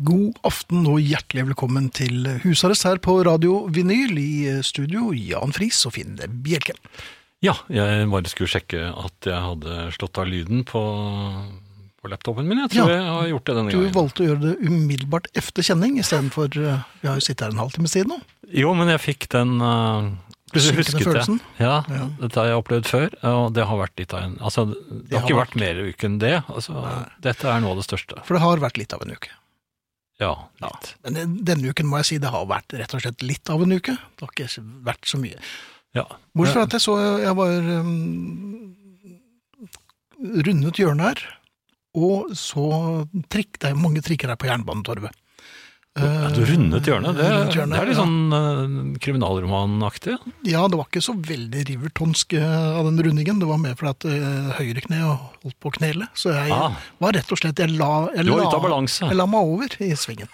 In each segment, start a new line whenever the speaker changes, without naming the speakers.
God aften og hjertelig velkommen til husarrest her på Radio Vinyl. I eh, studio Jan Friis og Finn Bjelke.
Ja, jeg bare skulle sjekke at jeg hadde slått av lyden på, på laptopen min. Jeg tror
Ja.
jeg har gjort det denne
Du
gangen.
valgte å gjøre det umiddelbart efter kjenning istedenfor eh, Vi har jo sittet her en halvtime siden nå.
Jo, men jeg fikk den uh,
Synkende følelsen?
Ja, dette har jeg opplevd før, og det har vært litt av en Altså, det, har
har
ikke vært, mer uke enn det. Altså, dette er noe av det største.
For det har vært litt av en uke.
Ja, litt.
Men den- denne uken må jeg si det har vært rett og slett litt av en uke. Det har ikke vært så mye.
Ja.
Bortsett fra at jeg så eh, jeg var um, rundet hjørnet her, og så trikk, det er mange trikker her på Jernbanetorvet.
Ja, du rundet hjørnet. Det,
Rundet hjørnet,
det er litt
ja.
sånn eh, kriminalromanaktig.
Ja, det var ikke så veldig rivertonsk eh, av den rundingen. Det var mer fordi at eh, høyre kne holdt på å knele. Så jeg
Ah.
var rett og slett Jeg la, jeg
Du var
la,
ute av balanse.
jeg la meg over i svingen.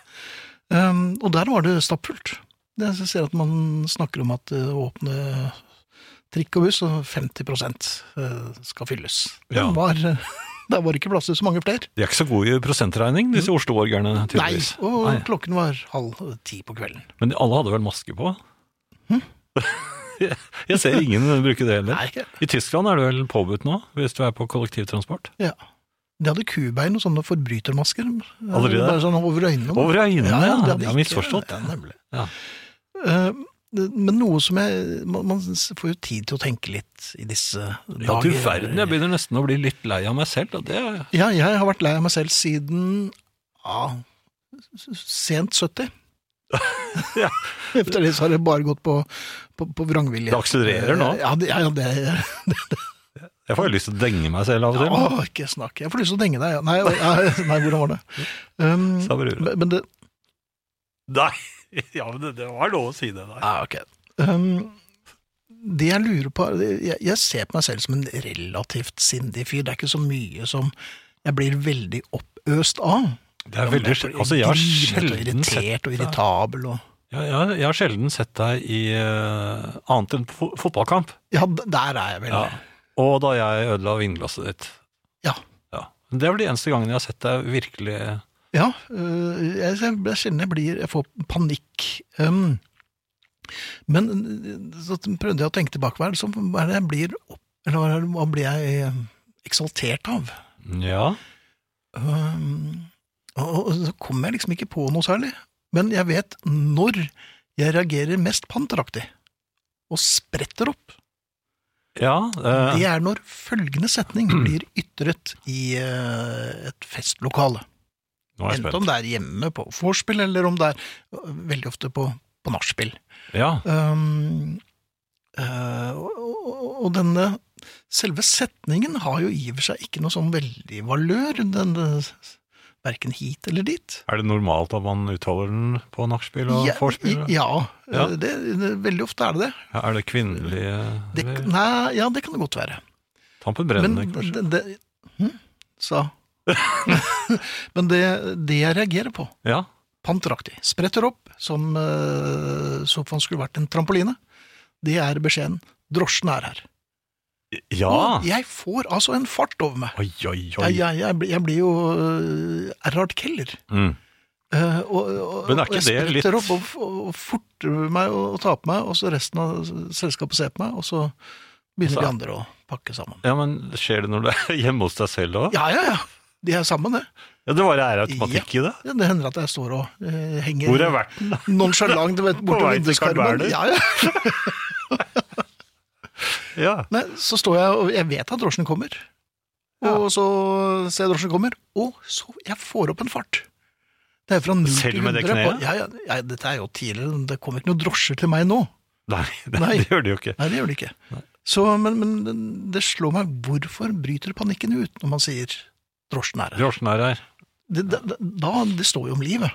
Um, og der var det stappfullt. Jeg ser at man snakker om at eh, å åpne trikk og buss, og 50 eh, skal fylles. Det
Ja.
var, der var det ikke plass til så mange flere.
De er ikke så gode i prosentregning, disse Oslo-orgerne,
Nei,
tydeligvis.
og
Nei.
klokken var halv ti på kvelden.
Men de- alle hadde vel maske på? Jeg- Jeg ser ingen bruke det heller.
Nei.
I Tyskland er det vel påbudt nå, hvis du er på kollektivtransport?
Ja. De hadde kubein og sånne forbrytermasker.
Allerede?
Bare sånn over øynene.
Over øynene, ja!
de hadde
det er
ikke-
misforstått.
Ja, nemlig.
Ja.
Eh, det- Men noe som jeg Man, man får jo tid til å tenke litt i disse dager.
Ja, du verden, jeg begynner nesten å bli litt lei av meg selv, og det er
Ja, jeg har vært lei av meg selv siden ja, s- sent 70.
Ja.
Etter det så har det bare gått på, på, på vrangvilje.
Det akselererer nå.
Ja, det, ja, ja, det
Jeg får jo lyst til å denge meg selv av og til.
Åh, ikke snakk. Jeg får lyst til å denge deg. ja. Nei, ja, nei hvordan var det? Um,
Sa brura.
men- men det
Nei, ja, men det, det var lov å si det der.
Ja, ok. Um, det jeg lurer på er- jeg, jeg ser på meg selv som en relativt sindig fyr. Det er ikke så mye som jeg blir veldig oppøst av.
Det er veldig
Jeg
sjel-
blir
Altså, jeg har
grinet og
sjelden sett
irritert og irritabel og
Ja, jeg, jeg har sjelden sett deg i eh, annet enn fo fotballkamp.
Ja, d- der er jeg vel.
Ja.
Ja.
Og da jeg ødela vinglasset ditt.
Ja.
Ja. Det er vel de eneste gangene jeg har sett deg virkelig
øh, jeg, jeg, jeg kjenner jeg blir Jeg får panikk. Um, men øh, så prøvde jeg å tenke tilbake. Hva er det, som, hva er det jeg blir opp... Eller hva er det- hva blir jeg eh, eksaltert av?
Ja.
Um, og, og- og så kommer jeg liksom ikke på noe særlig. Men jeg vet når jeg reagerer mest panteraktig. Og spretter opp.
Ja, eh,
Det er når følgende setning blir ytret i eh, et festlokale.
nå er jeg
Enten om
spent.
det er hjemme på vorspiel, eller om det er eh, veldig ofte på, på nachspiel.
Ja,
Um, eh, og, og, og denne selve setningen har jo i og for seg ikke noe sånn veldig valør, denne, verken hit eller dit.
Er det normalt at man uttaler den på nachspiel og
Ja,
vorspiel?
i- ja,
Ja.
eh, Det, det, veldig ofte er det det.
Ja, Er det kvinnelige
det
eller?
nei, ja, det kan det godt være.
Tampen brennende,
Men
kanskje?
det, det, hm, sa. Men det, det jeg reagerer på,
Ja.
panteraktig, spretter opp som eh, sofaen skulle vært en trampoline, det er beskjeden. Drosjen er her.
ja.
Og jeg får altså en fart over meg.
Oi, oi, oi.
Jeg, jeg, jeg, blir- jeg blir jo øh, Erhard Keller.
Mm.
Eh, og, og,
Men er
og jeg
ikke det litt-
spretter opp og, og, og forter meg og, og tar på meg, og så resten av selskapet ser på meg, og så begynner
Altså-
de andre å pakke sammen.
Ja, men skjer det når du er hjemme hos deg selv òg? Ja.
Ja, ja, ja. De er sammen, det.
det bare er automatikk i det?
Ja, Det hender at jeg står og eh, henger
Hvor er verten? da?
nonchalant vet,
På
bortover
vei til Carl
vinduskarmen.
Berner.
Ja, ja.
Ja.
Nei, så står jeg og jeg vet at drosjen kommer. Og så ser jeg drosjen kommer, og så jeg får opp en fart. Det er fra 0
Selv
til
med det
100 på-
kneet?
Ja, ja, ja, dette er jo tidligere, det kommer ikke noen drosjer til meg nå.
Nei, det,
Nei.
det gjør det jo ikke.
Nei, det gjør det ikke. Så, men, men det slår meg, hvorfor bryter panikken ut når man sier drosjen er her?
Drosjen er her.
Det, da, da, det står jo om livet.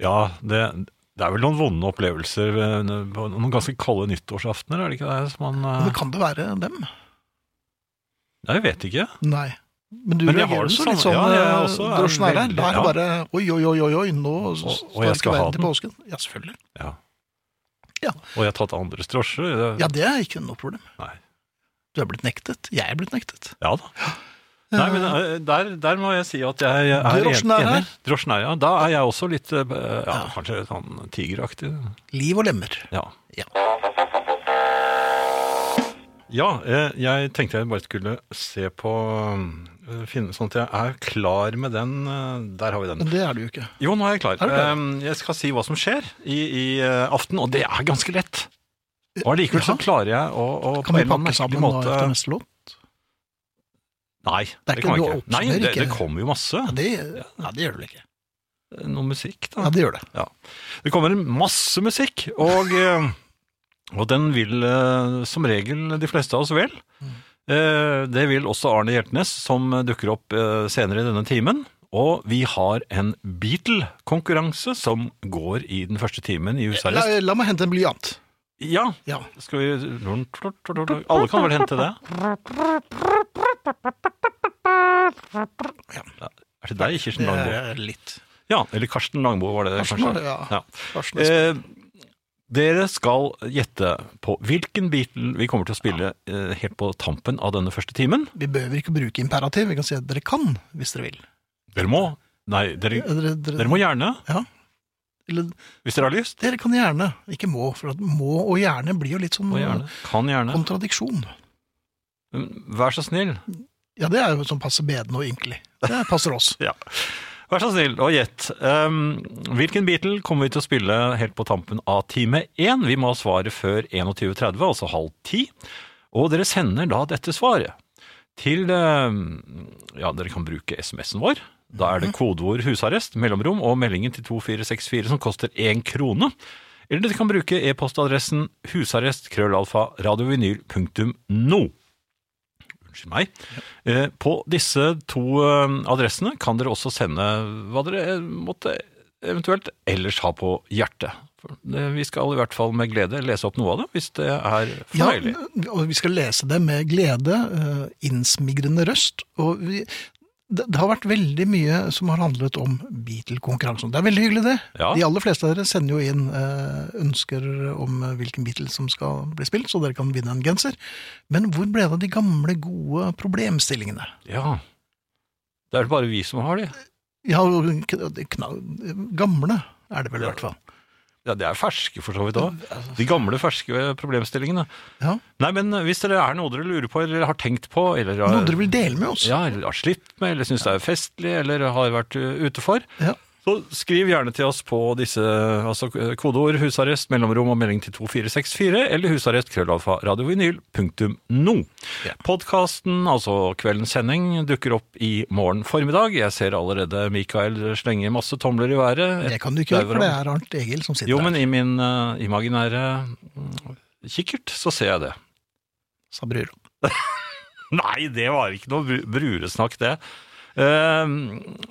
Ja, det, det er vel noen vonde opplevelser eh, på noen ganske kalde nyttårsaftener, er det ikke det? Som man, eh,
Men kan det være dem?
Nei, jeg vet ikke.
Nei. Men du
Men jeg har
reagerer
den
også
samme-
litt sånn
ja, jeg
eh,
også er
drosjen er her.
veldig-
Da er det
ja.
bare oi, oi, oi, oi, oi nå
og
skal
jeg
jeg
skal
ikke
ha
verden til
den.
påsken. Ja, selvfølgelig.
Ja.
Ja.
Og jeg har tatt andres drosjer. det-
Ja, det er ikke noe problem.
Nei.
Du er blitt nektet. Jeg er blitt nektet.
Ja da. Nei, men eh, der, der må jeg si at jeg er
Drosjen er
en-
her.
enig. Drosjen er, ja. Da er jeg også litt, eh, ja,
Ja.
kanskje sånn tigeraktig.
Liv og lemmer.
Ja.
Ja.
Ja, eh, jeg tenkte jeg bare skulle se på eh, Finne sånn at jeg er klar med den. eh, Der har vi den.
Men det er du jo ikke.
Jo, nå er jeg klar.
Er du klar?
Eh, Jeg skal si hva som skjer i, i eh, aften, og det er ganske lett. Og allikevel så
Ja.
klarer jeg å, å
Kan vi pakke sammen nå
måte
etter neste låt?
Nei,
Det er
det,
ikke-
kan
du
jeg ikke. Nei,
oppsummerer
det,
ikke
det
det.
kommer jo masse.
Ja, det, ja, det gjør det vel ikke.
Noe musikk, da.
Ja, det gjør det.
Det kommer en masse musikk, og, eh, og den vil eh, som regel de fleste av oss vel. Eh, Det vil også Arne Hjeltnes, som dukker opp eh, senere i denne timen. Og vi har en Beatle-konkurranse som går i den første timen i
La,
husarrest.
la meg hente en blyant.
Ja,
Ja.
skal vi Alle kan vel hente det? Ja, Er det deg, Kirsten Langbo?
Eh, litt.
Ja, eller Karsten Langbo var det
Karsten
kanskje.
var det, ja.
ja.
Karsten,
Eh, dere skal gjette på hvilken Beatle vi kommer til å spille eh, helt på tampen av denne første timen.
vi behøver ikke bruke imperativ. Vi kan si at dere kan, hvis dere vil.
Dere må. Nei, dere,
Dere, dere,
Mm. dere må gjerne,
eller,
hvis dere har lyst.
dere kan gjerne. Ikke må, for at må og gjerne blir jo litt sånn
Må gjerne. Kan gjerne.
kontradiksjon.
Vær så snill.
Ja, det er jo sånn passe bedende og ynkelig. Det passer oss.
Ja. Vær så snill og gjett. Ehm, hvilken Beatle kommer vi til å spille helt på tampen av time én? Vi må ha svaret før 21.30, altså halv ti. Og dere sender da dette svaret til ehm, Ja, dere kan bruke SMS-en vår. Da er det kodeord 'husarrest', mellomrom og meldingen til 2464 som koster én krone. Eller dere kan bruke e-postadressen husarrest.krøllalfa.radiovinyl.no. Unnskyld meg. Eh, På disse to eh, adressene kan dere også sende hva dere eh, måtte eventuelt ellers ha på hjertet. For det- Vi skal i hvert fall med glede lese opp noe av det, hvis det er
Ja,
fornøyelig.
og vi skal lese det med glede, eh, innsmigrende røst. Og vi, det, det har vært veldig mye som har handlet om Beatle-konkurransen. Det er veldig hyggelig, det.
Ja.
De aller fleste av dere sender jo inn eh, ønsker om eh, hvilken Beatle som skal bli spilt, så dere kan vinne en genser. Men hvor ble det av de gamle, gode problemstillingene?
Ja. Det er det bare vi som har de.
Ja, kn- kna- gamle er det vel, i
Ja.
hvert fall.
Ja, Det er ferske, for så vidt òg.
altså.
De gamle, ferske eh, problemstillingene.
Ja.
Nei, men eh, hvis dere er noe dere lurer på, eller har tenkt på, eller har,
Noe dere vil dele med oss?
ja, eller har slitt med, eller syns det er festlig, eller har vært uh, ute for,
Ja.
Så skriv gjerne til oss på disse altså kodeord husarrest, mellomrom og melding til 2464 eller husarrest krøllalfa radiovinyl.no.
Ja.
Podkasten, altså kveldens sending, dukker opp i morgen formiddag. Jeg ser allerede Mikael slenge masse tomler i været.
Det kan du ikke gjøre, for det er Arnt Egil som sitter
Jo,
der,
men i min eh, imaginære mm, kikkert så ser jeg det.
sa Bruron.
Nei, det var ikke noe bru- bruresnakk, det. Eh,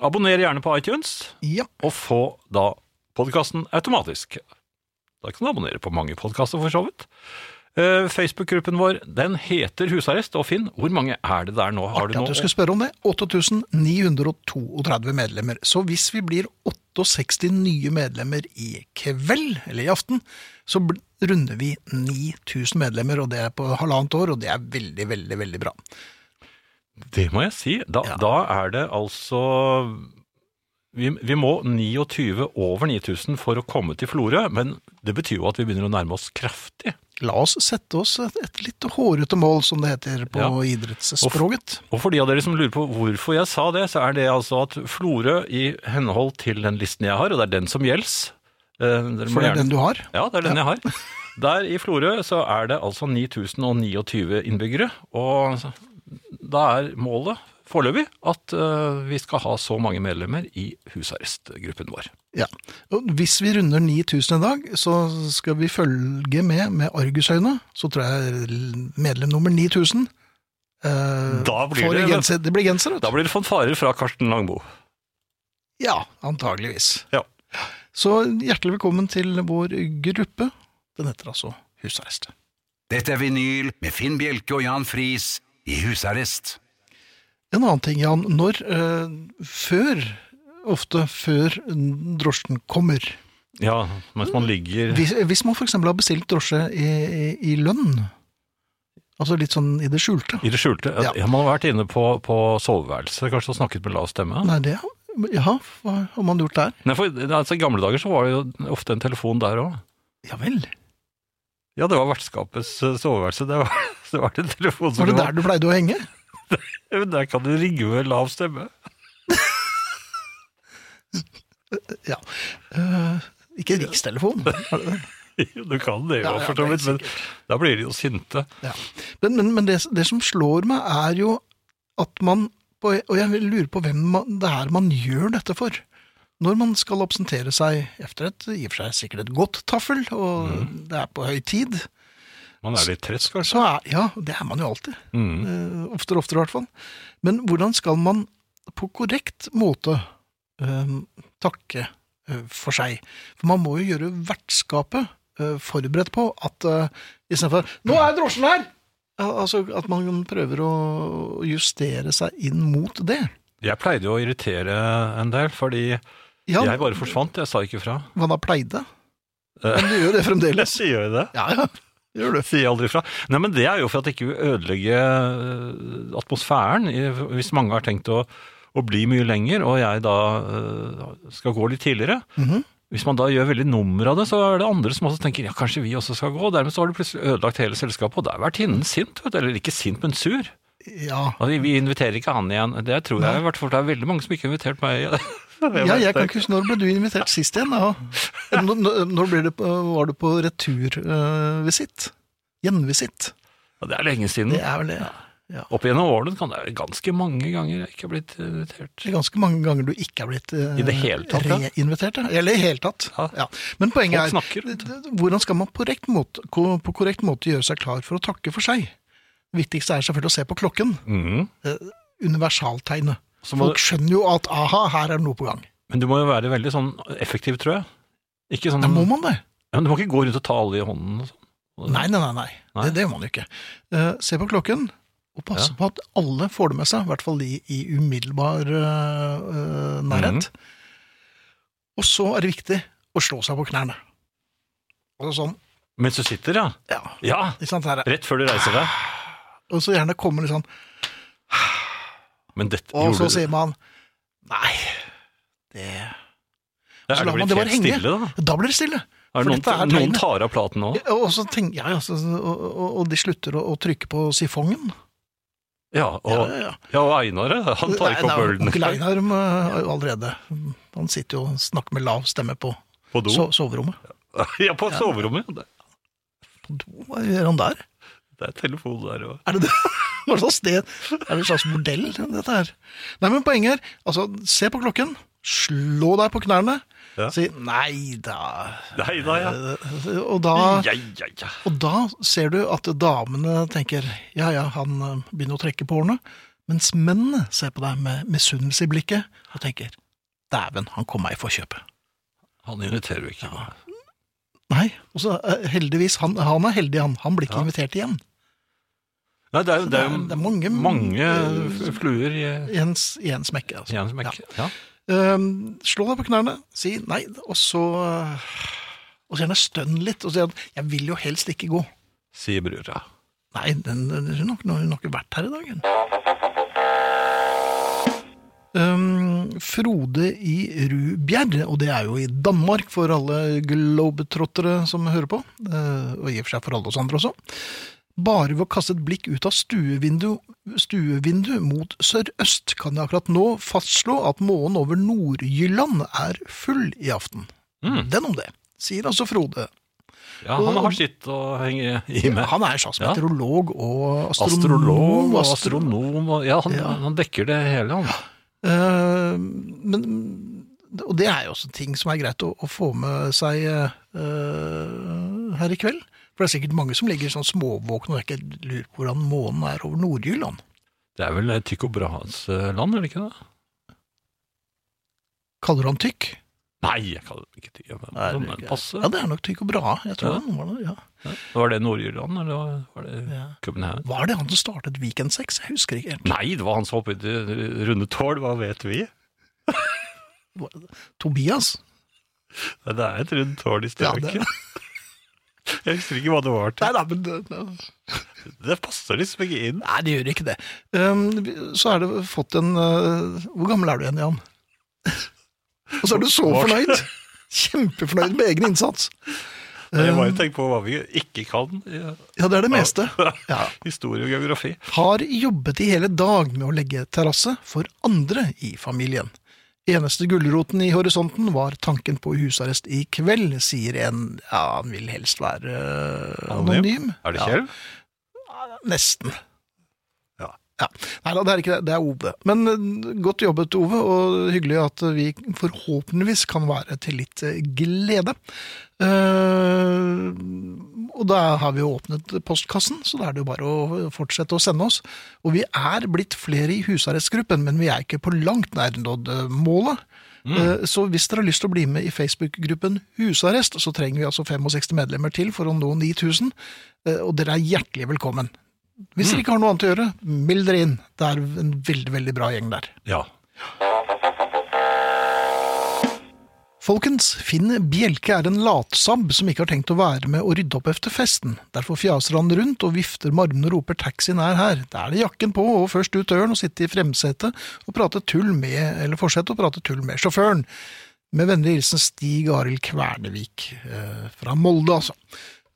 abonner gjerne på iTunes.
Ja.
og få da podkasten automatisk. Da kan du abonnere på mange podkaster, for så vidt. Eh, Facebook-gruppen vår den heter Husarrest. Og Finn, hvor mange er det der nå? Har
Artig
nå-
at du skulle spørre om det. 8932 medlemmer. Så hvis vi blir 68 nye medlemmer i kveld, eller i aften, så bl- runder vi 9000 medlemmer, og det er på halvannet år, og det er veldig, veldig, veldig bra.
Det må jeg si. Da,
Ja.
da er det altså vi, vi må 29 over 9000 for å komme til Florø, men det betyr jo at vi begynner å nærme oss kraftig.
La oss sette oss et, et litt hårete mål, som det heter på
Ja.
idrettsspråket.
Og for de av dere som lurer på hvorfor jeg sa det, så er det altså at Florø i henhold til den listen jeg har, og det er den som gjelder eh, dere må
For det
gjerne-
er den du har.
Ja, det er den jeg har. Der i Florø så er det altså 9029 innbyggere, og da er målet foreløpig at eh, vi skal ha så mange medlemmer i husarrestgruppen vår.
Ja. Og hvis vi runder 9000 i dag, så skal vi følge med med argusøyne. Så tror jeg medlem nummer 9000 eh,
Da blir
får
det-
genser. Det blir genser, vet du.
Da blir det fanfarer fra Karsten Langbo.
Ja, antageligvis.
Ja.
Så hjertelig velkommen til vår gruppe. Den heter altså Husarrest.
Dette er vinyl med Finn Bjelke og Jan Friis i husarrest.
En annen ting, Jan. Når eh, Før, ofte før drosjen kommer
ja, mens man ligger
Hvis, hvis man f.eks. har bestilt drosje i, i, i lønn, altså litt sånn i det skjulte
i det skjulte.
Ja.
Ja. Man har vært inne på, på soveværelset kanskje og snakket med lav stemme.
Nei, det Ja, hva har man gjort der?
Nei, for altså, I gamle dager så var det jo ofte en telefon der òg.
Ja vel.
Ja, det var vertskapets eh, soveværelse. Det var, det var en telefon som
Var det der du pleide å henge?
der? der kan du ringe med lav stemme.
Ja. Eh, ikke rikstelefon.
Jo, Du kan det jo,
Ja, ja,
for så
det er
vidt, men da blir de jo sinte.
Ja. Men, men, men det, det som slår meg, er jo at man Og jeg- og jeg lurer på hvem man, det er man gjør dette for. Når man skal absentere seg etter et i og for seg sikkert et godt taffel, og det er på høy tid,
Man er litt trett, kanskje.
så er Ja, det er man jo alltid.
Mm.
Eh, oftere og oftere, i hvert fall. Men hvordan skal man på korrekt måte eh, takke eh, for seg? For man må jo gjøre vertskapet eh, forberedt på at eh, istedenfor 'Nå er drosjen her!' Al- Altså at man prøver å justere seg inn mot det.
Jeg pleide jo å irritere en del, fordi
Ja,
jeg bare forsvant. Jeg sa ikke fra.
hva da pleide?
Eh.
Men du gjør det fremdeles.
Sier jeg det?
Ja, ja. Gjør du.
Sier aldri fra. Nei, men det er jo for at jeg ikke vil ødelegge øh, atmosfæren, i- hvis mange har tenkt å, å bli mye lenger, og jeg da øh, skal gå litt tidligere.
Mhm.
Hvis man da gjør veldig nummer av det, så er det andre som også tenker ja, kanskje vi også skal gå. og Dermed så har du plutselig ødelagt hele selskapet, og da er vertinnen sint, vet du. Eller ikke sint, men sur.
Ja.
Altså, vi inviterer ikke han igjen. Det tror jeg i hvert fall. Det er veldig mange som ikke har invitert meg. Jeg
Ja,
vet
jeg
det.
kan ikke huske når ble du invitert sist igjen. Ja. Når, når- når ble det, på- var du på returvisitt? Gjenvisitt?
Ja, Det er lenge siden.
Det er vel det.
Opp gjennom årene kan det være ganske mange ganger jeg ikke har blitt invitert.
Det er ganske mange ganger du ikke er blitt eh,
I det hele tatt, ja.
reinvitert. Ja. Eller i det hele tatt.
Ja.
Ja. Men
Folk
poenget er,
snakker. vet du.
hvordan skal man på korrekt, måte, ko- på korrekt måte gjøre seg klar for å takke for seg? Det viktigste er selvfølgelig å se på klokken.
Mhm.
Universaltegnet.
Så må
Mm. Folk skjønner jo at aha, her er det noe på gang.
Men du må jo være veldig sånn effektiv, tror jeg. Ikke sånn,
Da må man det.
Ja, men du må ikke gå rundt og ta alle i hånden og sånn.
Nei, nei, nei. nei.
Nei.
Det, det må man jo ikke. Eh, se på klokken, og passe
Ja.
på at alle får det med seg, i hvert fall de i umiddelbar eh, eh, nærhet.
Mhm.
Og så er det viktig å slå seg på knærne. Og sånn,
Mens du sitter, ja.
ja,
Ja,
ikke sant, her er.
rett før du reiser deg.
Og så gjerne kommer litt sånn,
Men dette
og så
gjorde du.
sier man, nei, det...
Ja,
så lar
er det
man
blitt
det bare
helt
henge.
stille, da?
Da blir det stille.
Er det
For
noen,
dette er
noen
tegnet.
tar av platen nå?
Og så tenker jeg, altså, og, og, og de slutter å, å trykke på sifongen.
Ja, og,
ja, ja.
ja, og Einar, ja, han tar ikke
Nei,
opp
nei,
ølen
Onkel Einar eh, er jo allerede Han sitter jo og snakker med lav stemme på
på do.
so soverommet.
Ja, på soverommet. ja. Det,
På do, hva gjør han der?
det er telefon der òg.
Er det det? Hva slags sted? Er det et slags bordell, dette her? Nei, men poenget er, altså, se på klokken, slå deg på knærne,
Ja.
si nei da
Nei, nei, ja.
og da,
Ja, ja, ja.
og da ser du at damene tenker ja ja, han eh, begynner å trekke på årene, mens mennene ser på deg med misunnelse i blikket og tenker dæven, han kom meg i forkjøpet.
Han inviterer jo ikke.
Nei, og så eh, heldigvis, han, han er heldig han, han blir ikke
Ja.
invitert igjen.
Nei, det er jo, det er jo
Det er mange-
mange f- fluer i
I en, s- i en smekke,
i
altså.
en smekk. Ja.
Ehm, slå deg på knærne, si nei, og så eh, Og så gjerne stønn litt, og si at 'jeg vil jo helst ikke gå'.
Sier brura.
Nei, den, den, hun, har, ikke- hun har ikke vært her i dag, hun. Ehm, Frode i Rubjerg, og det er jo i Danmark for alle globetrottere som hører på, eh, og i og for seg for alle oss andre også. Bare ved å kaste et blikk ut av stuevindu, stuevindu mot sørøst kan jeg akkurat nå fastslå at månen over Nordjylland er full i aften. Den om det, sier altså Frode.
Ja, han har sitt å henge i med.
Han er slags
Ja.
meteorolog og astronom.
Astrolog og
astro-
astronom og Ja, han,
Ja.
han dekker det hele, han.
Eh, men, og det er jo også ting som er greit å, å få med seg eh, her i kveld. For det er sikkert mange som ligger sånn småvåkne og ikke lurer på hvordan månen er over Nordjylland.
Det er vel Tycho Brahes eh, land, er det ikke det?
Kaller du han tykk?
Nei, jeg kaller det ikke tykk. Men,
Nei, det er
men
ikke-
passe.
Ja, det er nok tykk og bra. Jeg tror
Ja.
han var det, ja.
Var det Nord-Irland, eller var det
Ja.
København?
Var det han som startet Weekend 6? Jeg husker ikke helt.
Nei, det var han som hoppet i runde tårn, hva vet vi?
Tobias?
Nei, Det er et rundt tårn i
Ja,
strøket.
det-
Jeg husker ikke hva det var
Nei
til.
da, men det- det-
Det passer liksom ikke inn.
Nei, det gjør ikke det. Um, så er det fått en uh, Hvor gammel er du igjen, Jan? Og så er du så
Hvor-
fornøyd! Kjempefornøyd med egen innsats.
Jeg bare
Um,
tenker på hva vi ikke kan i
ja, det er det meste. Ja.
historie og geografi.
Har jobbet i hele dag med å legge terrasse for andre i familien. Eneste gulroten i horisonten var tanken på husarrest i kveld, sier en Ja, han vil helst være uh, anonym.
Er det
Ja.
Kjell?
Nesten.
Ja.
Ja. Nei da, det er ikke det. Det er Ove. Men eh, godt jobbet, Ove, og hyggelig at vi forhåpentligvis kan være til litt eh, glede. Eh, og da har vi jo åpnet postkassen, så da er det jo bare å fortsette å sende oss. Og vi er blitt flere i husarrestgruppen, men vi er ikke på langt nær nådd eh, målet. Eh, Så hvis dere har lyst til å bli med i Facebook-gruppen Husarrest, så trenger vi altså 65 medlemmer til for å nå 9000. eh, Og dere er hjertelig velkommen. Hvis dere ikke har noe annet å gjøre, meld dere inn. Det er en veldig, veldig bra gjeng der.
Ja.
Folkens, Finn Bjelke er en latsabb som ikke har tenkt å være med å rydde opp efter festen. Derfor fjaser han rundt og vifter med armene og roper 'taxien er her'. Da er det jakken på og først ut døren og sitte i fremsetet og prate tull med, eller fortsette å prate tull med sjåføren. Med vennlig hilsen Stig Arild Kvernevik eh, fra Molde, altså.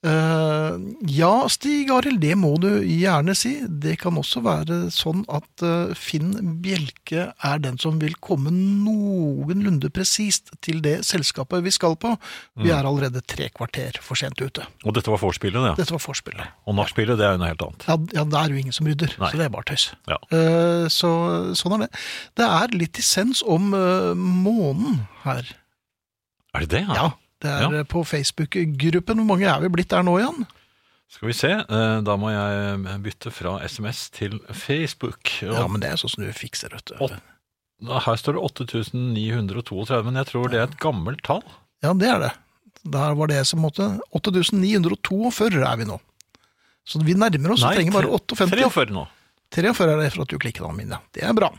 Eh, ja, Stig Arild, det må du gjerne si. Det kan også være sånn at eh, Finn Bjelke er den som vil komme noenlunde presist til det selskapet vi skal på. Vi
Mm.
er allerede tre kvarter for sent ute.
Og dette var vorspielet, det.
Dette var vorspielet.
Og nachspielet, det er jo noe helt annet.
Ja, ja, da er det jo ingen som rydder,
Nei.
så det er bare tøys.
Ja.
Eh, så sånn er det. Det er litt dissens om eh, månen her.
Er det det?
Ja. Det er
Ja.
eh, på Facebook-gruppen. Hvor mange er vi blitt der nå, Jan?
Skal vi se. eh, Da må jeg bytte fra SMS til Facebook. Og
Ja, men det er sånn som du fikser, vet du.
Åtte. da- Her står det 8932, men jeg tror det er et gammelt tall.
Ja, det er det. Der var det som måtte 8942 er vi nå. Så vi nærmer oss. vi trenger bare 58.
43 nå.
43 er det for at du klikket an, Mine. Det er bra.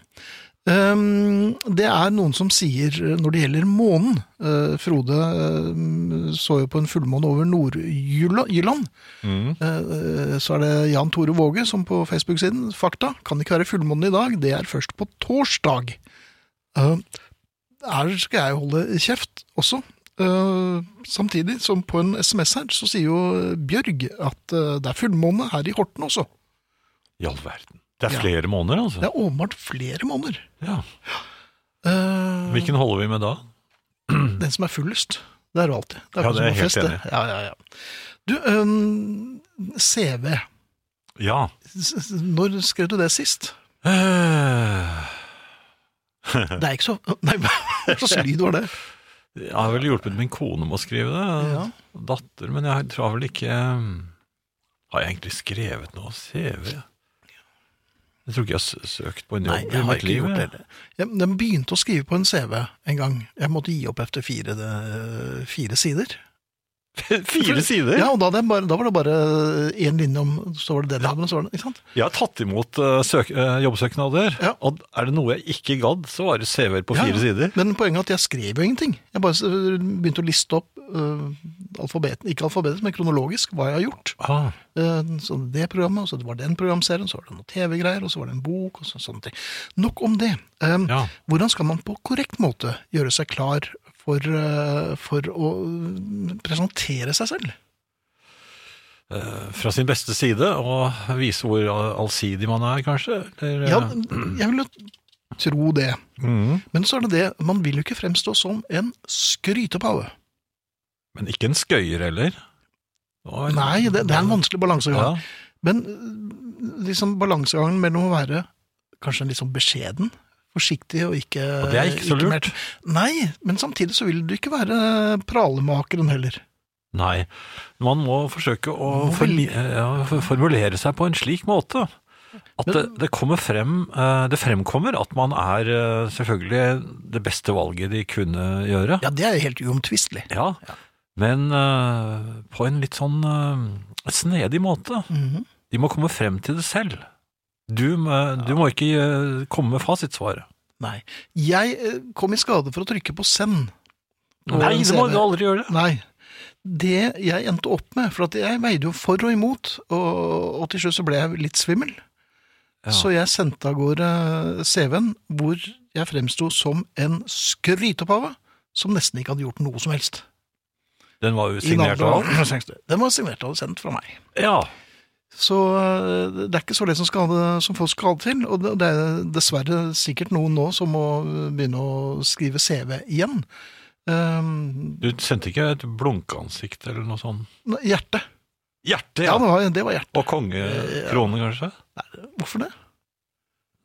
Ehm, det er noen som sier, eh, når det gjelder månen eh, Frode eh, så jo på en fullmåne over Nord-Jylland. Eh, Så er det Jan Tore Våge som på Facebook-siden Fakta kan ikke være fullmåne i dag, det er først på torsdag. Eh, Her skal jeg holde kjeft også. Eh, Samtidig som på en SMS her så sier jo Bjørg at eh, det er fullmåne her i Horten også.
I all verden. Det er
Ja.
flere måneder, altså.
Det er åpenbart flere måneder.
Ja.
Eh,
Hvilken holder vi med da?
Den som er fullest. Det er jo alltid. Det
Ja,
akkurat
det er jeg helt
som på fest, det. Ja, ja, ja. Du, øhm, CV.
Ja.
S- s- Når skrev du det sist?
Eh,
Det er ikke så Nei, hva slags lyd var det?
Jeg har vel hjulpet min kone med å skrive det.
Ja.
Datter, men jeg tror vel ikke eh, Har jeg egentlig skrevet noe CV? Jeg tror ikke jeg har s- søkt på en jobb
Nei, jeg
i
har
mitt
ikke
liv.
gjort
jeg.
det. Jeg, den begynte å skrive på en CV en gang. Jeg måtte gi opp etter fire, øh, fire sider.
Fire sider!
Ja, og da, hadde jeg bare, da var det bare én linje om Så var det den jobben, og så var det Ikke sant?
Jeg har tatt imot eh, søk, eh, jobbsøknader,
Ja.
og er det noe jeg ikke gadd, så var det CV-er på
Ja,
fire
ja.
sider.
Men poenget er at jeg skrev jo ingenting. Jeg bare øh, begynte å liste opp øh, alfabet, ikke alfabetisk, men kronologisk, hva jeg har gjort.
Ah,
Eh, Så det programmet, og så var det den programserien, så var det noen TV-greier, og så var det en bok, og så, sånne ting. Nok om det. Eh,
Ja.
Hvordan skal man på korrekt måte gjøre seg klar for, eh, for å mm, presentere seg selv?
eh, fra sin beste side, og vise hvor eh, allsidig man er, kanskje? Eller, eh,
Ja, jeg vil jo tro det.
mm,
Men så er det det, man vil jo ikke fremstå som en skrytepave.
men ikke en skøyer heller? Og-
Nei, det, det er en vanskelig balansegang.
Ja.
Men eh, liksom balansegangen mellom å være kanskje litt sånn beskjeden, forsiktig og ikke
Og det er ikke så lurt.
Nei, men samtidig så vil du ikke være pralemakeren heller.
Nei, man må forsøke å eh,
Må
form
vel-
ja, for- formulere seg på en slik måte At det, det kommer frem eh, Det fremkommer at man er eh, selvfølgelig det beste valget de kunne gjøre.
Ja, det er helt uomtvistelig.
Ja. Men eh, på en litt sånn eh, snedig måte.
Mhm.
De må komme frem til det selv. Du, må- du må ikke eh, komme med fasitsvaret.
Nei. Jeg eh, kom i skade for å trykke på send. Og
Nei,
en
det må
CV.
du aldri gjøre. det.
Nei. Det jeg endte opp med, for at jeg veide jo for og imot, og, og til slutt så ble jeg litt svimmel.
Ja.
Så jeg sendte av gårde CV-en, hvor jeg fremsto som en skrytepave som nesten ikke hadde gjort noe som helst.
Den var jo
I
signert
navnet-
av
Den var signert og sendt fra meg.
Ja.
Så øh, det er ikke så lett som, skal ha det- som folk skal ha det til, og det det er dessverre sikkert noen nå som må begynne å skrive CV igjen. Ehm,
Du sendte ikke et blunkeansikt eller noe sånn? sånt?
nei, hjerte.
Hjerte,
Ja,
ja.
det var, det var hjerte.
Og kongekrone, kanskje?
Hvorfor det?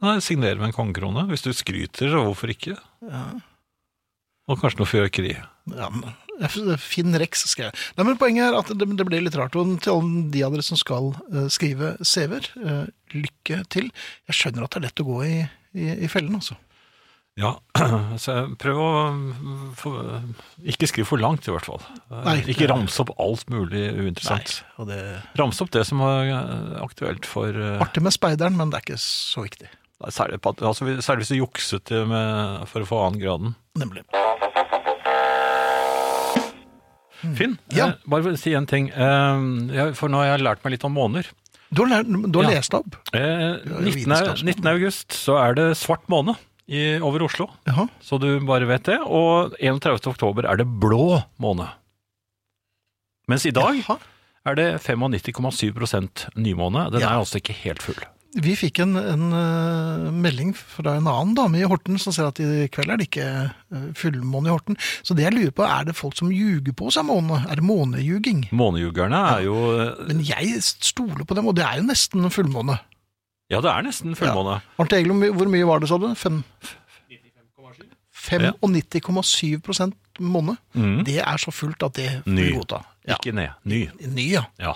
Nei, signer med en kongekrone. Hvis du skryter, så hvorfor ikke?
Ja.
Og kanskje noe fyrverkeri.
Ja, men F- Finn Rex skrev jeg. Nei, men Poenget er at det, det blir litt rart. Og til alle de av dere som skal eh, skrive CV-er, eh, lykke til. Jeg skjønner at det er lett å gå i, i, i fellen, altså.
Ja, så jeg prøv å mm, få- ikke skriv for langt, i hvert fall.
Nei.
ikke ramse opp alt mulig uinteressant.
og det...
Ramse opp det som er eh, aktuelt for eh,
Artig med speideren, men det er ikke så viktig.
Særlig, på at- altså, hvis- særlig hvis du jukset det med, for å få annen graden.
Nemlig.
Finn,
Mm. Ja.
eh, bare si en ting. Eh, jeg- for nå har jeg lært meg litt om måneder.
Du har, lært, du har
Ja.
lest opp?
Eh,
Ja,
19. au-
vitenskapsmåned.
19. august så er det svart måned i, over Oslo,
Jaha.
så du bare vet det. Og 31. oktober er det blå måned. Mens i dag
Jaha.
er det 95,7 nymåne. Den
Ja.
er altså ikke helt full.
Vi fikk en, en eh, melding fra en annen dame i Horten som sier at i kveld er det ikke eh, fullmåne i Horten. Så det jeg lurer på, er det folk som ljuger på seg måne? Er det månejuging?
Månejugerne er jo
Men jeg stoler på dem, og det er jo nesten en fullmåne.
Ja, det er nesten fullmåne.
Arnt Egil, hvor my- hvor mye var det, sa du? Fem- 95,7 måne.
Mm.
Det er så fullt at det får
Ny.
vi godta. Ja.
Ikke ned. Ny.
Ny, ja.
Ja.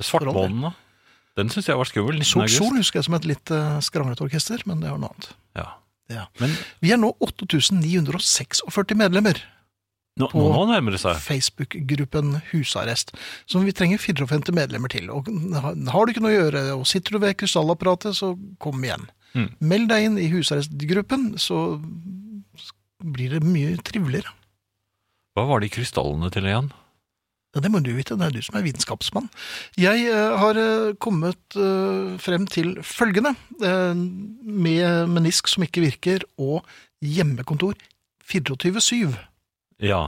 Svartmånen, da. Den syns jeg var skummel. 19.
Sort
august.
Sol husker jeg som et litt eh, skranglete orkester, men det er noe annet.
Ja.
Ja.
Men
Vi er nå 8946 medlemmer.
nå, nå må han nærmere seg.
Facebook-gruppen Husarrest, som vi trenger 54 medlemmer til. Og har du ikke noe å gjøre, og sitter du ved krystallapparatet, så kom igjen.
Mm.
Meld deg inn i husarrestgruppen, så blir det mye triveligere.
Hva var de krystallene til igjen?
Ja, det må du vite, det er du som er vitenskapsmann. Jeg eh, har eh, kommet eh, frem til følgende, eh, med menisk som ikke virker, og hjemmekontor 24-7.
Ja.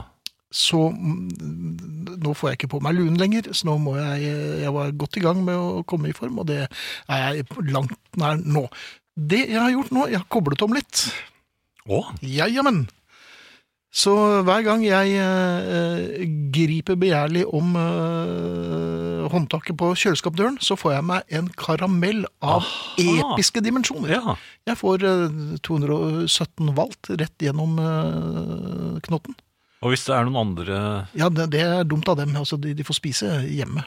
så mm, nå får jeg ikke på meg luen lenger, så nå må jeg Jeg var godt i gang med å komme i form, og det er jeg langt nær nå. Det jeg har gjort nå, jeg har koblet om litt.
Å,
Ja, jammen. Så hver gang jeg eh, griper begjærlig om eh, håndtaket på kjøleskapdøren, så får jeg meg en karamell av
Aha.
episke dimensjoner.
ja.
Jeg får eh, 217 valgt rett gjennom eh, knotten.
Og hvis det er noen andre
Ja, det, det er dumt av dem. Altså, de, de får spise hjemme.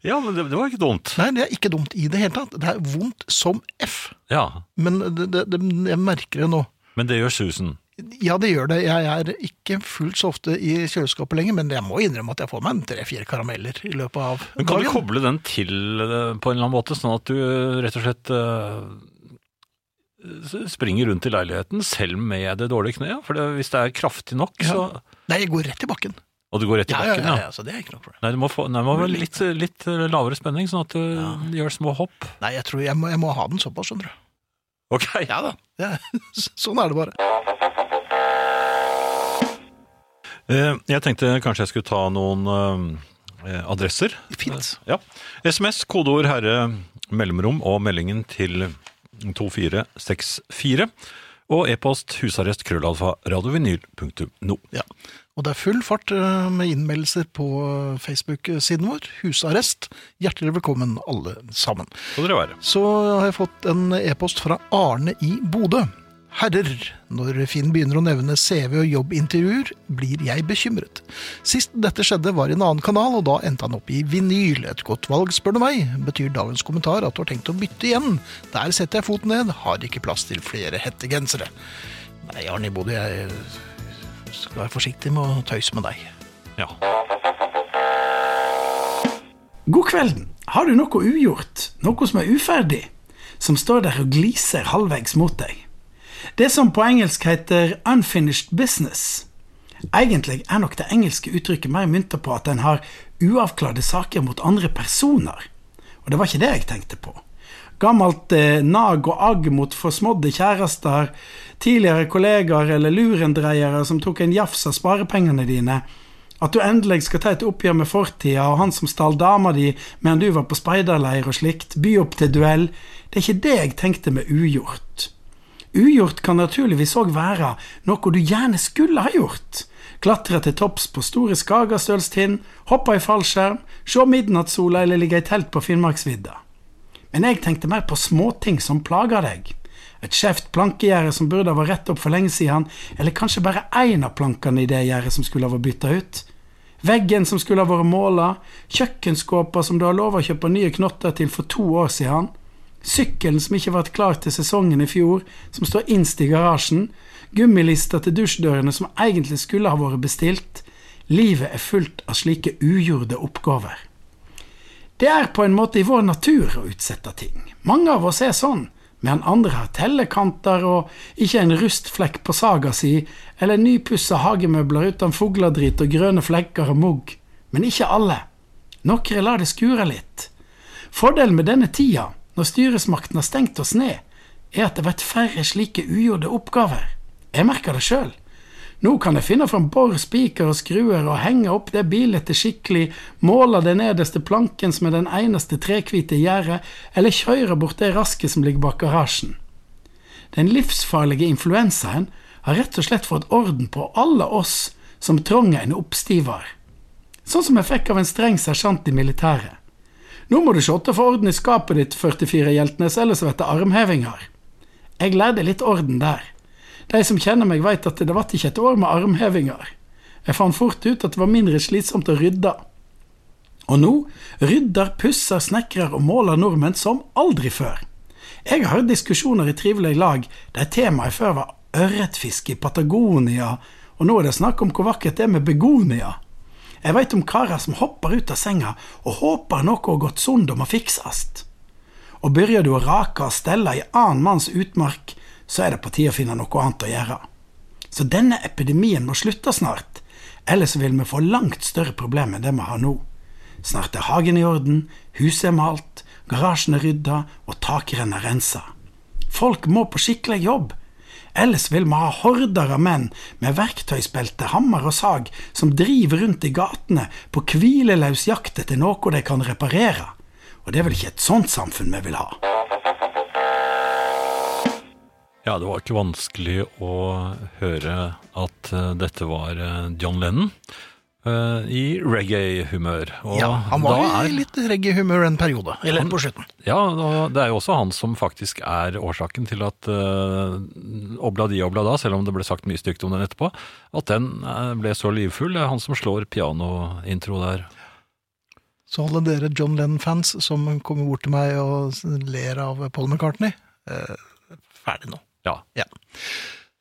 Ja, men det, det var ikke dumt.
Nei, det er ikke dumt i det hele tatt. Det er vondt som F.
Ja.
Men det, det, det, jeg merker det nå.
Men det gjør susen.
Ja, det gjør det. Jeg er ikke fullt så ofte i kjøleskapet lenger, men jeg må innrømme at jeg får meg en tre-fire karameller i løpet av
Men kan du koble den til eh, på en eller annen måte, sånn at du eh, rett og slett eh, s- springer rundt i leiligheten selv med det dårlige kneet? For det, hvis det er kraftig nok, så
Nei, jeg går rett i bakken.
Og du går rett i bakken, ja.
ja, ja, så det er ikke noe problem.
Nei, du må få nei, du må ha litt, litt lavere spenning, sånn at du gjør små hopp.
Nei, jeg tror jeg må, jeg må ha den såpass, skjønner du.
Ok.
Ja da. Ja, sånn er det bare.
Eh, Jeg tenkte kanskje jeg skulle ta noen eh, adresser.
Fint.
Ja. SMS, kodeord herre, mellomrom og meldingen til 2464. Og e-post husarrest krøllalfa radiovinyl.no.
Ja. Og det er full fart eh, med innmeldelser på eh, Facebook-siden vår. Husarrest. Hjertelig velkommen, alle sammen.
Skal dere være.
Så har jeg fått en e-post fra Arne i Bodø. Herrer, når Finn begynner å nevne CV og jobbintervjuer, blir jeg bekymret. Sist dette skjedde var i en annen kanal, og da endte han opp i vinyl. Et godt valg, spør du meg. Betyr dagens kommentar at du har tenkt å bytte igjen? Der setter jeg foten ned, har ikke plass til flere hettegensere. Nei, Arne Bodø, jeg skal være forsiktig med å tøyse med deg.
Ja.
God kvelden. Har du noe ugjort, noe som er uferdig, som står der og gliser halvveis mot deg? Det som på engelsk heter unfinished business. Egentlig er nok det engelske uttrykket mer myntet på at en har uavklarte saker mot andre personer. Og det var ikke det jeg tenkte på. Gammelt eh, nag og agg mot forsmådde kjærester, tidligere kollegaer eller lurendreiere som tok en jafs av sparepengene dine. At du endelig skal ta et oppgjør med fortida og han som stal dama di mens du var på speiderleir og slikt, by opp til duell. Det er ikke det jeg tenkte med ugjort. Ugjort kan naturligvis òg være noe du gjerne skulle ha gjort. Klatre til topps på Store Skagastølstind, hoppe i fallskjerm, se midnattssola eller ligge i telt på Finnmarksvidda. Men jeg tenkte mer på småting som plager deg. Et skjevt plankegjerde som burde ha vært rett opp for lenge siden, eller kanskje bare én av plankene i det gjerdet som skulle ha vært bytta ut. Veggen som skulle ha vært måla, kjøkkenskåper som du har lova å kjøpe nye knotter til for to år siden, sykkelen som ikke ble klar til sesongen i fjor, som står innst i garasjen, gummilister til dusjdørene som egentlig skulle ha vært bestilt. Livet er fullt av slike ugjorde oppgaver. Det er på en måte i vår natur å utsette ting. Mange av oss er sånn, men andre har tellekanter og ikke en rustflekk på saga si, eller nypussa hagemøbler uten fugledrit og grønne flekker og mugg. Men ikke alle. Noen lar det skure litt. Fordelen med denne tida, når styresmakten har stengt oss ned, er at det blir færre slike ugjorte oppgaver. Jeg merker det sjøl. Nå kan jeg finne fram bor, spiker og skruer og henge opp det bildet skikkelig, måle den nederste planken som er den eneste trekvite i gjerdet, eller kjøre bort det rasket som ligger bak garasjen. Den livsfarlige influensaen har rett og slett fått orden på alle oss som trenger en oppstiver. Sånn som jeg fikk av en streng sersjant i militæret. Nå må du sjåtte få orden i skapet ditt, 44 Hjeltnes, ellers blir det armhevinger. Jeg lærte litt orden der. De som kjenner meg, vet at det vart ikke et år med armhevinger. Jeg fant fort ut at det var mindre slitsomt å rydde. Og nå rydder, pusser, snekrer og måler nordmenn som aldri før. Jeg har hørt diskusjoner i trivelige lag der temaet før var ørretfiske i Patagonia, og nå er det snakk om hvor vakkert det er med begonia. Jeg veit om karer som hopper ut av senga og håper noe har gått sund og må fiksast. Og begynner du å rake og stelle i annen manns utmark, så er det på tide å finne noe annet å gjøre. Så denne epidemien må slutte snart, ellers vil vi få langt større problemer enn det vi har nå. Snart er hagen i orden, huset er malt, garasjen er rydda og takrenna rensa. Folk må på skikkelig jobb, ellers vil vi ha horder av menn med verktøysbelte, hammer og sag som driver rundt i gatene på hvileløs jakt etter noe de kan reparere, og det er vel ikke et sånt samfunn vi vil ha.
Ja, det var ikke vanskelig å høre at eh, dette var eh, John Lennon eh, i reggae-humør. Og
Ja, han var
da
i litt reggae-humør en periode. Eller på slutten.
Ja, og det er jo også han som faktisk er årsaken til at uh, Obladi Oblada, selv om det ble sagt mye stygt om den etterpå, at den eh, ble så livfull. Det er han som slår pianointro der.
Så alle dere John Lennon-fans som kommer bort til meg og s- ler av Paul McCartney eh, Ferdig nå.
Ja.
Ja.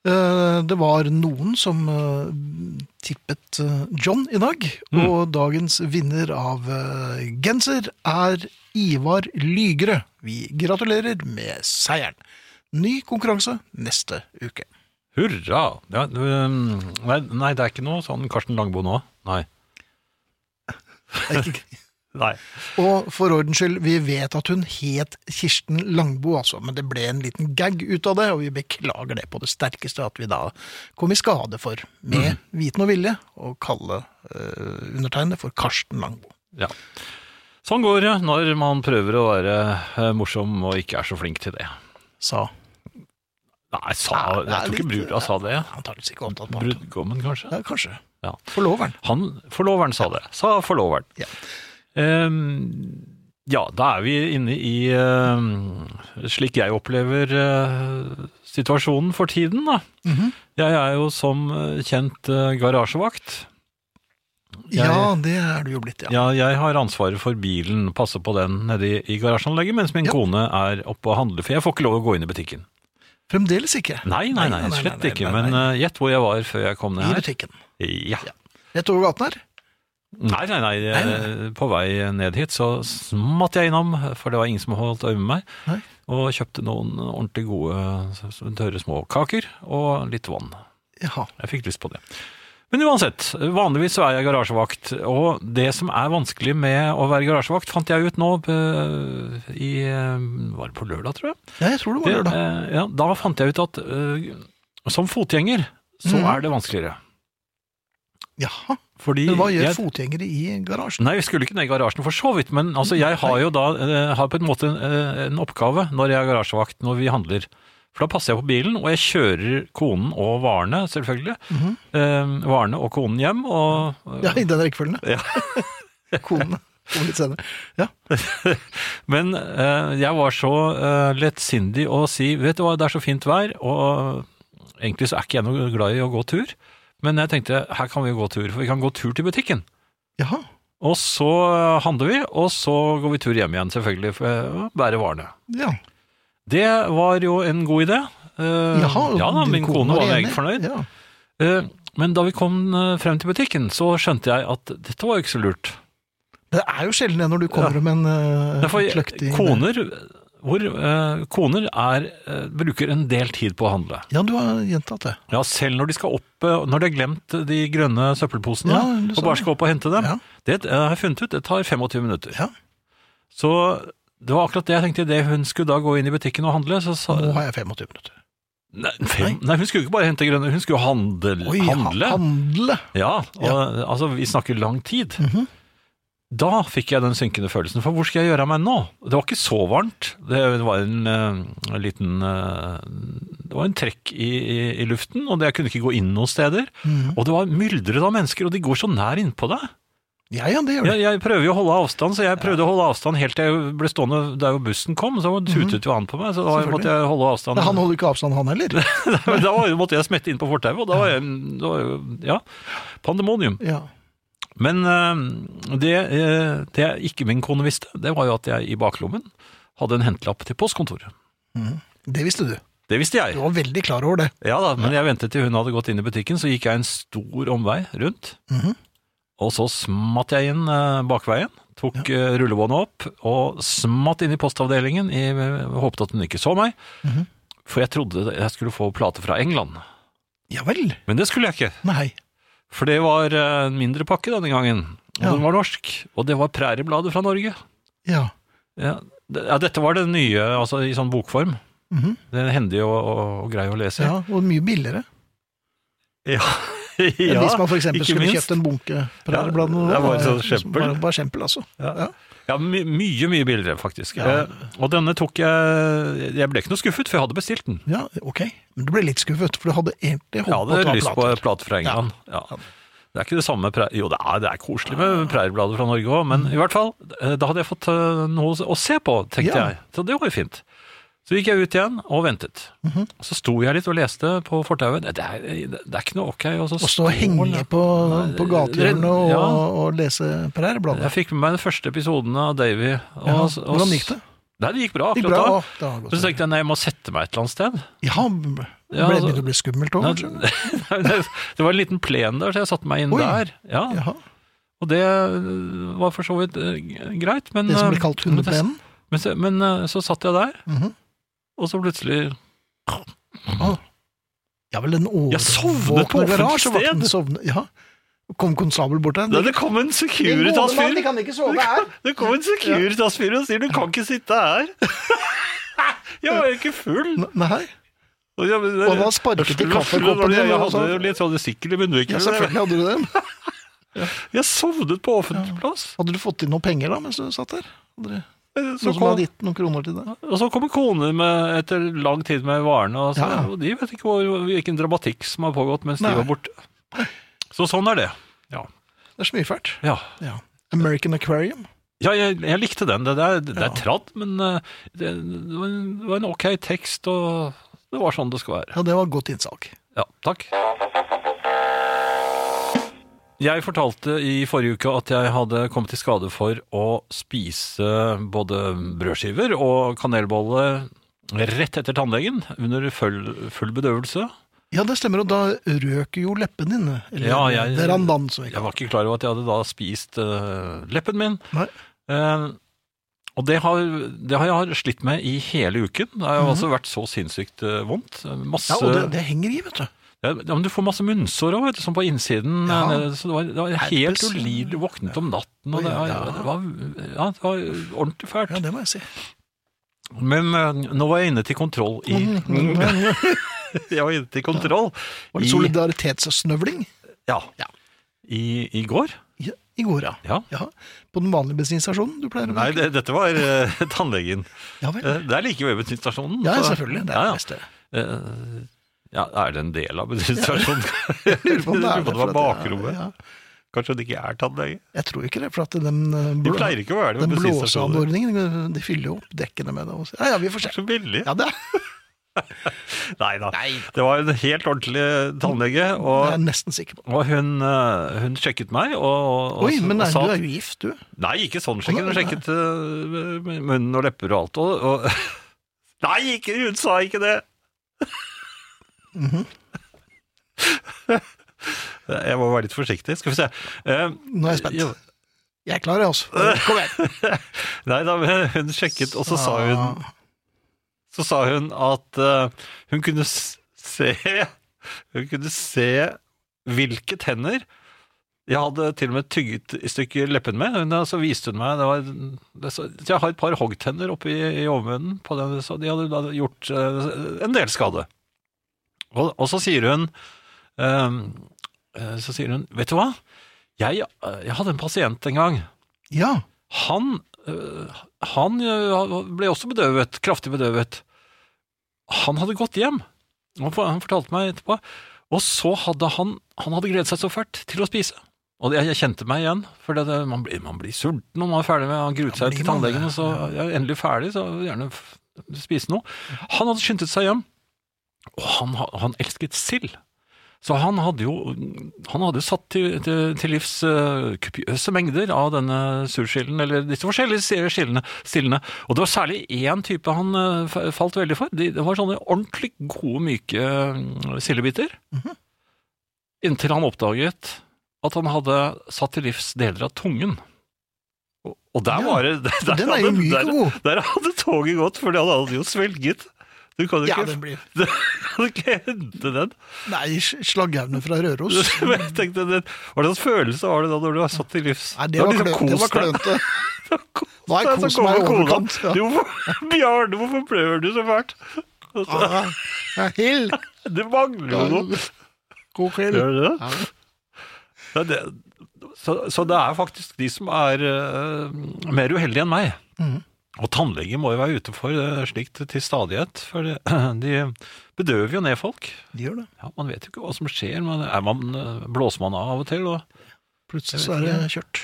Eh, Det var noen som eh, tippet eh, John i dag, og dagens vinner av eh, genser er Ivar Lygre. Vi gratulerer med seieren. Ny konkurranse neste uke.
Hurra! Ja, um, nei, nei, det er ikke noe sånn Karsten Langbo nå. Nei.
Det er ikke-
nei.
Og for ordens skyld, vi vet at hun het Kirsten Langbo, altså, men det ble en liten gag ut av det, og vi beklager det på det sterkeste at vi da kom i skade for, med
Mm.
viten og vilje, å kalle uh, undertegnede for Karsten Langbo.
Ja. Sånn går det når man prøver å være eh, morsom og ikke er så flink til det.
Sa
Nei, sa,
Ja, det er
jeg tror ikke
litt- eh,
brura sa det.
antakeligvis ikke omtalt på annet.
Brudgommen, kanskje?
Ja, kanskje.
Ja.
Forloveren.
Han, forloveren sa det. Sa forloveren.
Ja.
Ehm, Ja, da er vi inne i eh, slik jeg opplever eh, situasjonen for tiden, da.
Mhm.
Jeg er jo som eh, kjent eh, garasjevakt. Jeg-
Ja, det er du jo blitt, ja.
Ja, jeg har ansvaret for bilen, passer på den nede i, i garasjeanlegget, mens min
Ja.
kone er oppe og handler, for jeg får ikke lov å gå inn i butikken.
Fremdeles ikke.
Nei, nei, nei,
nei,
slett
nei,
ikke,
nei, nei.
men eh, gjett hvor jeg var før jeg kom ned
I
her.
butikken.
Ja.
Rett over gaten her.
Nei, nei, nei,
Mm. Nei, nei,
eh, på vei ned hit så smatt jeg innom, for det var ingen som holdt øye med meg,
Nei.
og kjøpte noen ordentlig gode, så- så tørre små kaker og litt vann.
Jaha.
Jeg fikk lyst på det. Men uansett, vanligvis så er jeg garasjevakt, og det som er vanskelig med å være garasjevakt, fant jeg ut nå eh, i eh, Var det på lørdag, tror jeg?
Ja, jeg tror det var
Det,
lørdag.
eh, ja, da fant jeg ut at eh, som fotgjenger så
Mhm.
er det vanskeligere.
Jaha.
Fordi
Men hva gjør
jeg,
fotgjengere i garasjen?
Nei, vi skulle ikke ned i garasjen for så vidt, men altså, jeg har jo da eh, har på en måte eh, en oppgave når jeg er garasjevakt når vi handler. For da passer jeg på bilen, og jeg kjører konen og varene, selvfølgelig.
Mhm.
eh, varene og konen hjem, og
Ja, i den rekkefølgen.
Ja.
Konene. Kommer litt senere.
Men eh, jeg var så eh, lettsindig å si Vet du hva, det er så fint vær, og egentlig så er ikke jeg noe glad i å gå tur. Men jeg tenkte her kan vi jo gå tur, for vi kan gå tur til butikken.
Jaha.
Og så eh, handler vi, og så går vi tur hjem igjen, selvfølgelig, for eh, å bære varene.
Ja.
Det var jo en god idé. Eh,
Jaha.
ja da,
din
min kone var
enig.
meget fornøyd.
Ja.
Eh, men da vi kom eh, frem til butikken, så skjønte jeg at dette var jo ikke så lurt.
Det er jo sjelden det når du kommer
Ja.
med en eh,
Derfor,
kløktig
koner, hvor, eh, koner er, eh, bruker en del tid på å handle.
Ja, du har gjentatt det.
Ja, selv når de skal opp, eh, når de har glemt de grønne søppelposene,
Ja, du sa
og bare
det.
skal opp og hente dem,
Ja.
det eh, har jeg funnet ut, det tar 25 minutter.
Ja.
Så det var akkurat det jeg tenkte, det hun skulle da gå inn i butikken og handle, så sa
Nå har jeg 25 minutter.
nei, fem, nei, hun skulle ikke bare hente grønne, hun skulle handle.
Oi, handle.
handle.
handle.
Ja, og, altså vi snakker lang tid.
Mhm.
Da fikk jeg den synkende følelsen, for hvor skal jeg gjøre av meg nå? Det var ikke så varmt, det var en eh, liten eh, Det var en trekk i, i, i luften, og det- jeg kunne ikke gå inn noen steder.
Mhm.
Og det var myldret av mennesker, og de går så nær innpå deg.
Ja, ja, det gjør det.
Jeg, jeg prøver jo å holde avstand, så jeg prøvde å holde avstand helt til jeg ble stående der hvor bussen kom, så tutet jo han på meg, så da
Mhm. Selvfølgelig.
måtte jeg holde avstand.
Nei, han holder ikke avstand, han heller.
Men da var- måtte jeg smette inn på fortauet, og da var jeg da var jeg- Ja, pandemonium.
Ja.
Men eh, det, eh, det ikke min kone visste, det var jo at jeg i baklommen hadde en hentelapp til postkontoret.
Det visste du.
Det visste
Du
jeg.
var veldig klar over det.
Ja da, Men jeg ventet til hun hadde gått inn i butikken, så gikk jeg en stor omvei rundt.
Mhm.
Og så smatt jeg inn eh, bakveien, tok eh, rullebåndet opp og smatt inn i postavdelingen. I, eh, håpet at hun ikke så meg,
Mhm.
for jeg trodde jeg skulle få plate fra England.
Ja vel.
Men det skulle jeg ikke.
Nei.
For det var eh, en mindre pakke denne gangen, og
Ja.
den var norsk. Og det var Præriebladet fra Norge.
Ja.
Ja, det, ja, dette var det nye, altså i sånn bokform.
Mhm.
Det er hendig og, og, og grei å lese.
ja. Og mye billigere.
ja.
Enn
Ja,
hvis man f.eks.
ikke
skulle
minst.
kjøpt en bunke prærieblad.
Ja, det var et
eh,
sånt skjempel.
Bare, bare skjempel, altså.
Ja.
Ja.
Ja, my, mye, mye billigere, faktisk.
Ja.
Eh, og denne tok jeg Jeg ble ikke noe skuffet, for jeg hadde bestilt den.
Ja, ok. Men du ble litt skuffet, for du hadde egentlig
Jeg
håpet på å
hadde
ta
lyst på
plater.
plate fra England. Ja. Det er ikke det samme præ- Jo, det er, det er koselig med Præriebladet fra Norge òg,
Mm.
men i hvert fall, eh, da hadde jeg fått eh, noe å se på, tenkte
Ja.
jeg. Så det var jo fint. Så gikk jeg ut igjen og ventet.
Mhm.
Så sto jeg litt og leste på fortauet. Det, er- det er ikke noe ok. altså, Og så
Å stå og henge på, på gatehjørnet og,
Ja.
og lese prærieblad.
Jeg fikk med meg den første episoden av Davy. og-
Ja.
og-
Hvordan gikk det?
Nei, det gikk bra.
Gikk
akkurat
bra?
da.
Å, det har
Men
gått
Så tenkte jeg nei, jeg må sette meg et eller annet sted.
Ja, ble
Ja,
det
altså-
begynte å bli skummelt òg,
Nei,
kanskje?
det det var en liten plen der, så jeg satte meg inn
Oi.
der. Ja,
Jaha.
Og det øh, var for så vidt øh, greit, men
Det som blir
øh,
kalt hundeplenen?
Men, så- men øh, så satt jeg der,
Mhm.
og så plutselig
Ja vel, den
Jeg sovnet på
overvåkne
offentlig
garasjevakten
sted.
sovnet Ja. Kom konstabel bort til
Nei,
den?
det kom en Securitas-fyr
kan ikke sove her!
Det kom en Securitas-fyr og sier 'du kan ikke sitte her'. Jeg var jo ikke full.
Nei,
Og, jeg, men,
Og da sparket de
jeg var full,
kaffekoppen
og Jeg,
din,
jeg
og
hadde
så-
jo litt sånn sikkel i
ja,
munnvikene.
selvfølgelig hadde du det.
Jeg sovnet på offentlig plass. Eh,
Hadde du fått inn noen penger da, mens du satt der? Hadde du,
Så
noen som
kom,
hadde gitt noen kroner til deg?
og så kommer koner med, etter lang tid med varene, og, så,
Ja.
og de vet ikke hvor, hvilken dramatikk som har pågått mens
Nei.
de var borte. Så sånn er det. Ja.
Det er så mye fælt.
ja.
Ja. American Aquarium.
Ja, jeg, jeg likte den. Det, er- det er tradd, men eh, det, det var en- det var en ok tekst, og det var sånn det skal være.
Ja, det var et godt innsalg.
Ja, takk. Jeg fortalte i forrige uke at jeg hadde kommet i skade for å spise både brødskiver og kanelbolle rett etter tannlegen, under full, full bedøvelse.
Ja, det stemmer, og da røker jo leppen din. Eller,
Ja, jeg-
det rann vann, som vi
Jeg
kaller
var ikke klar over at jeg hadde da spist eh, leppen min.
det. Nei.
Eh, og det har, det har jeg slitt med i hele uken. Det har altså vært så sinnssykt eh, vondt. Masse
Mhm. Ja, og det, det henger i, vet du.
Ja, men Du får masse munnsår òg, sånn på innsiden.
Ja.
eh, Så det var, det var helt
Herpes.
ulidelig. Våknet om natten, og det var,
Ja.
det var, ja, det var ordentlig fælt.
Ja, det må jeg si.
Men eh, nå var jeg inne til kontroll i Jeg var inne til kontroll
Mm, Var det
i,
solidaritetssnøvling
ja,
Ja.
i, i går.
i, i går, ja.
Ja.
På den vanlige bensinstasjonen du pleier å
Nei,
bruke?
det, dette var eh, tannlegen.
Ja, vel.
Eh, Det er like ved bensinstasjonen.
Ja,
så-
selvfølgelig. Det er
ja,
det
ja.
beste.
Eh, ja, er det en del av bensinstasjonen? Jeg
Lurer på om det er
det
for
var
at-
bakrommet.
Ja, ja.
Kanskje det ikke er tannlege?
Jeg tror ikke det, for at den, eh,
De
blå-
pleier ikke å være det
den
ved bensinstasjoner.
blåseanordningen De fyller jo opp dekkene med det. også. Ja, ja, vi får
Det
se.
er Så billig.
Ja, det er,
Nei da. Det var en helt ordentlig tannlege,
det er jeg
og,
nesten sikker på.
og hun, eh, hun sjekket meg og, og,
Oi, men
og
er,
sa
du
at-
er jo gift, du.
Nei, ikke sånn sjekket. Hun
Nei.
sjekket eh, munnen og lepper og alt. Og, og Nei, ikke, hun sa ikke det! Jeg må være litt forsiktig. Skal vi se. Eh,
Nå er jeg spent.
ja,
Jeg er klar, jeg altså. også. Kom igjen.
Nei da, men hun sjekket, og så sa
Ah.
hun, så sa hun at eh, hun kunne s- se Hun kunne se hvilke tenner jeg hadde til og med tygget i stykker leppen med. Hun, eh, så viste hun meg det var, det, så, Jeg har et par hoggtenner oppe i, i overmunnen, på den, så de hadde da gjort eh, en del skade. Og, og så sier hun eh, eh, Så sier hun Vet du hva? Jeg, eh, jeg hadde en pasient en gang.
Ja.
Han, øh, han øh, ble også bedøvet, kraftig bedøvet. Han hadde gått hjem, han for- han fortalte meg etterpå, og så hadde han, han hadde gledet seg så fælt til å spise. Og jeg, jeg kjente meg igjen, for det, det, man, blir, man blir sulten når man er ferdig med Han gruet seg
blir man
til
det?
tannlegen, og så jeg er endelig ferdig, så jeg vil gjerne f- spise noe. Han hadde skyndet seg hjem, og han, ha- han elsket sild. Så han hadde jo han hadde jo satt til, til, til livs eh, kupiøse mengder av denne sursilden, eller disse forskjellige si- skillene, stillene. Og det var særlig én type han eh, fa- falt veldig for. De, det var sånne ordentlig gode, myke eh, sildebiter.
Mhm.
Inntil han oppdaget at han hadde satt til livs deler av tungen. Og, og der
Ja,
var det der,
for den er jo
hadde-
myk og god.
Der, der hadde toget gått, for han hadde jo svelget. Du kan jo
ja
ikke,
den blir...
du kan ikke hente den.
Nei, slaggaune fra Røros.
Men jeg tenkte, det, Hva slags følelse var det da når du har satt i livs?
Nei,
Du
det
har
var,
liksom
klø- det
kost
var
deg.
klønete.
Du har kost
Nå har jeg
deg, så
kost meg i
kommer kona.
overkant, ja.
Du, hvorfor- Bjarne, hvorfor blør du så fælt?
Ja, ja, Hill!
Det mangler jo noe.
God kveld.
Gjør det det? Ja, det- Så, så det er faktisk de som er eh, mer uheldige enn meg.
Mm.
Og tannleger må jo være ute for eh, slikt til stadighet, for det, de bedøver jo ned folk.
De gjør det.
Ja, man vet jo ikke hva som skjer. Man, er man, eh, blåser man av og til? Og,
Plutselig så er det kjørt.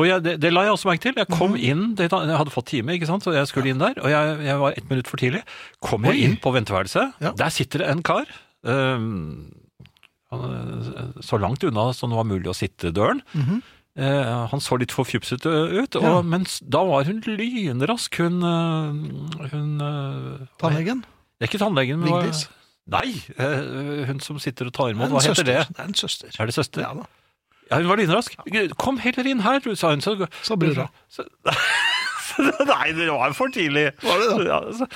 Og jeg, det, det la jeg også merke til. Jeg kom
Mhm.
inn, det, jeg hadde fått time, ikke sant? så jeg skulle inn der. Og jeg, jeg var ett minutt for tidlig. Kom jeg
Oi.
inn på venteværelset.
Ja.
Der sitter det en kar. øhm, han, øh, så langt unna som det var mulig å sitte døren. Eh, han så litt forfjupset øh, ut,
Mhm. Ja.
og, men s- da var hun lynrask. Hun, øh, hun øh,
Tannlegen?
Det er ikke tannlegen, men hva-
Vigdis?
Nei, eh, hun som sitter og tar
Det er
imot.
en
Hva heter
søster.
det?
Det er en søster.
Er det søster?
Ja da.
Ja, hun var lynrask. Kom heller inn her, sa hun. Så,
Sa brura.
Så, nei, det var for tidlig.
Var det det?
Ja, så,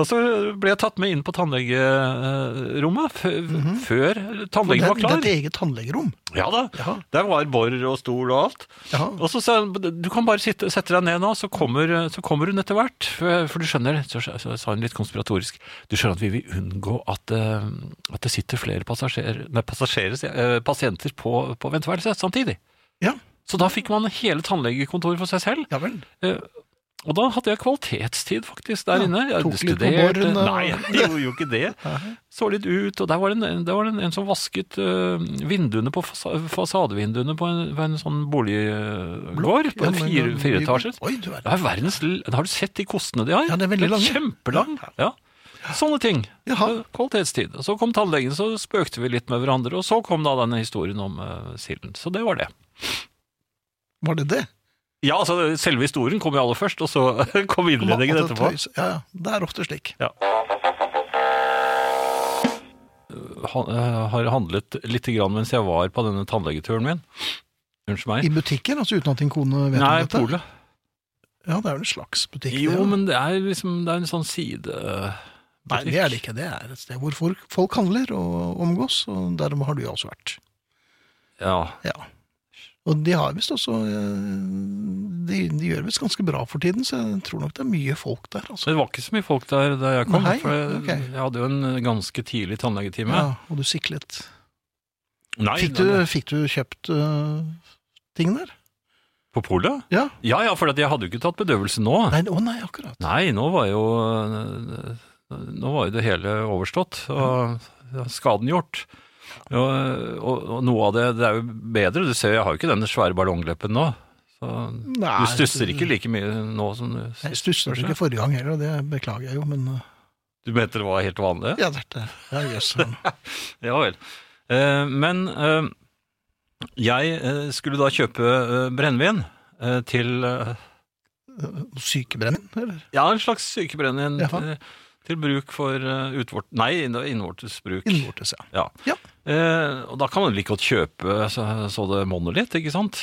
og så ble jeg tatt med inn på tannlegerommet før, før
Det
tannlegen var
er, Mhm. det er
klar.
et eget tannlegerom.
Ja da,
Ja.
Der var bor og stol og alt.
Ja.
Og så sa hun du kan bare sitte, sette deg ned nå, så kommer, så kommer hun etter hvert. For, for du skjønner, så, så sa hun litt konspiratorisk, du skjønner at vi vil unngå at, eh, at det sitter flere passasjerer, nei, passasjerer, sier jeg, eh, pasienter på, på venteværelset samtidig.
Ja,
Så da fikk man hele tannlegekontoret for seg selv.
ja vel.
Eh, Og da hadde jeg kvalitetstid faktisk der inne. Jeg
tok litt på
studerte-
borren og-
Nei, jeg gjorde jo ikke det. Så litt ut, og der var det en, der var det en, en som vasket øh, vinduene på fasa, fasadevinduene på en, på en sånn boliggård på
Ja,
en
men- eh,
fire, fireetasjes.
Oi, du er
Det er verdens, l- har du sett de kostene de har?
Ja, det er veldig
Det
lange.
Kjempelang. Ja. Sånne ting. Eh,
Jaha.
Kvalitetstid. Og Så kom tannlegen, så spøkte vi litt med hverandre, og så kom da denne historien om eh, silden. Så det var det.
Var det det?
Ja, altså selve historien kom jo aller først, og så kom
At
innledningen
det
etterpå.
tøys- Ja, ja. Det er ofte slik.
Han, eh, har handlet litt grann mens jeg var på denne tannlegeturen min. Unnskyld meg.
I butikken, altså uten at din kone vet
Nei,
om dette?
polet.
Ja, det er jo en slags butikk. det,
Jo,
ja.
men det er liksom det er en sånn side...
Nei, det er det ikke. Det er et sted hvor folk- folk handler og omgås, og derom har du også vært.
Ja,
Ja. Og de har visst også eh, de, de gjør visst ganske bra for tiden, så jeg tror nok det er mye folk der.
Så
Altså.
det var ikke så mye folk der da jeg kom,
Nei,
for jeg,
ok.
jeg hadde jo en ganske tidlig tannlegetime.
Ja, og du siklet.
Nei,
Fikk du, fikk du kjøpt eh, ting der?
På polet?
Ja.
Ja, ja, for at jeg hadde jo ikke tatt bedøvelse nå. Nei,
Nei, å nei, akkurat.
nå var jo Nå var jo det hele overstått, og skaden gjort. Og, og, og noe av det, det er jo bedre. Du ser, jeg har jo ikke den svære ballongleppen nå. Så
Nei,
du stusser ikke like mye nå som du
Jeg stusset
kanskje?
ikke forrige gang heller, og det beklager jeg jo, men eh,
Du mente det var helt vanlig?
Ja, dette ja, jøss.
Ja vel. Eh, men eh, jeg eh, skulle da kjøpe eh, brennevin eh, til eh,
Sykebrenning, eller?
Ja, en slags sykebrennevin
Jaha.
eh, til bruk for eh, utvort... Nei, inn- innvortes bruk.
Innvortes, ja.
Ja.
Ja.
Eh, og da kan man like godt kjøpe så, så det monolitt, ikke sant?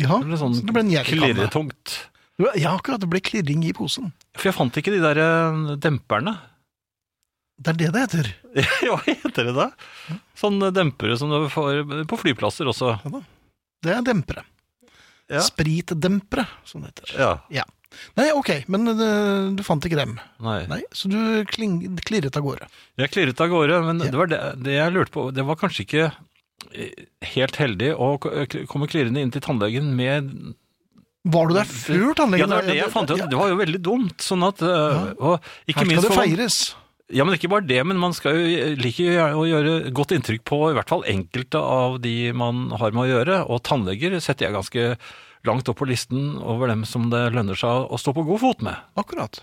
Ja,
Eller sånn
så det ble en gjerdekanne.
klirretungt.
Ja, akkurat. Det ble klirring i posen.
For jeg fant ikke de der eh, demperne.
Det er det det heter.
Hva heter det da? Sånne dempere som du får på flyplasser også.
Det er dempere.
Ja.
Spritdempere, som det heter.
Ja.
Nei, ok, men eh, du fant ikke dem.
Nei.
Nei, så du kling, klirret av gårde.
Jeg klirret av gårde, men
Ja.
det var det, det jeg lurte på. Det var kanskje ikke eh, helt heldig å k- k- komme klirrende inn til tannlegen med
Var du der før
Ja,
tannlegen?
det var det jeg fant ut. Det var jo veldig dumt. Sånn at eh, Og
Her
ikke
skal
minst
det
for
feires.
Ja, men ikke bare det, men man skal jo like gjerne å gjøre godt inntrykk på i hvert fall enkelte av de man har med å gjøre, og tannleger setter jeg ganske langt opp på listen over dem som det lønner seg å stå på god fot med.
Akkurat.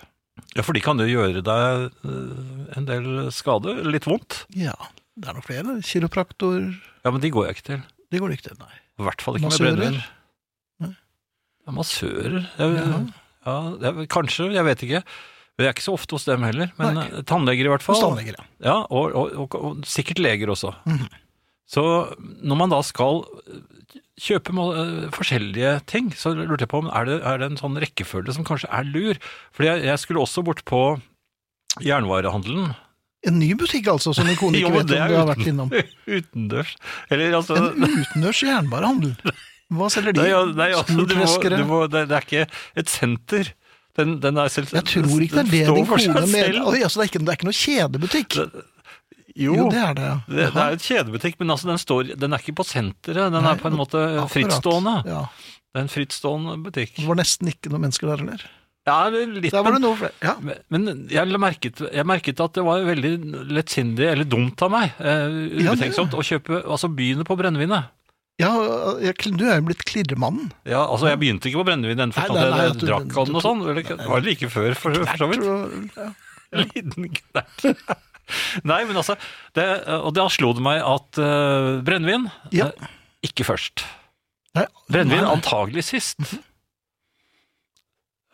Ja, for de kan jo gjøre deg eh, en del skade, litt vondt.
Ja, det er nok flere. Kiropraktor,
Ja, men de går jeg ikke til.
det går det ikke til, nei.
I hvert fall ikke
Massører?
med brennevin.
Nei.
Ja, massører jeg, ja.
Ja.
det er- Kanskje, jeg vet ikke. Men Jeg er ikke så ofte hos dem heller. Men
Nei.
eh, tannleger i hvert fall.
Hos tannleger, ja.
Ja, og, og, og, og sikkert leger også.
Mhm.
Så når man da skal eh, kjøpe må- eh, forskjellige ting, så lurte jeg på om er det, er det en sånn rekkefølge som kanskje er lur? Fordi jeg, jeg skulle også bort på jernvarehandelen
En ny butikk altså, som din kone
Jo,
ikke
men
vet
det
om
er
du har
uten-
vært innom.
utendørs. Eller altså
En utendørs jernvarehandel. Hva selger de?
Nei, ja, nei altså, du må,
Skurtreskere?
du må, det, det er ikke et senter. Den, den er selv,
Jeg tror ikke det er det
den
din
står for seg
kone mener.
selv.
Oi, altså, det, er ikke, det er ikke noe kjedebutikk?
Det- Jo,
Jo, det
det,
er det, ja.
det, er et kjedebutikk, men altså, den, står, den er ikke på senteret. Den
Nei,
er på en måte
Akkurat.
frittstående.
Ja.
Det er en frittstående butikk.
Det var nesten ikke noen mennesker der heller.
Ja, litt,
Der var det
men,
noe flere. Ja.
men jeg merket, jeg merket at det var veldig lettsindig, eller dumt av meg, eh,
Ja, det-
ubetenksomt, å kjøpe altså begynne på brennevinet.
Ja, jeg, du er jo blitt klirremannen.
Ja, altså, jeg begynte ikke på brennevin i den forstand,
nei, nei,
jeg,
at du-
drakk av den og
du-
sånn. Eller, det var like før, for, for så vidt.
Ja.
Liten knert. Nei, men altså, det, og da slo det meg at eh, brennevin
Ja.
eh, ikke først.
Nei,
Brennevin
nei, Mhm.
antagelig sist.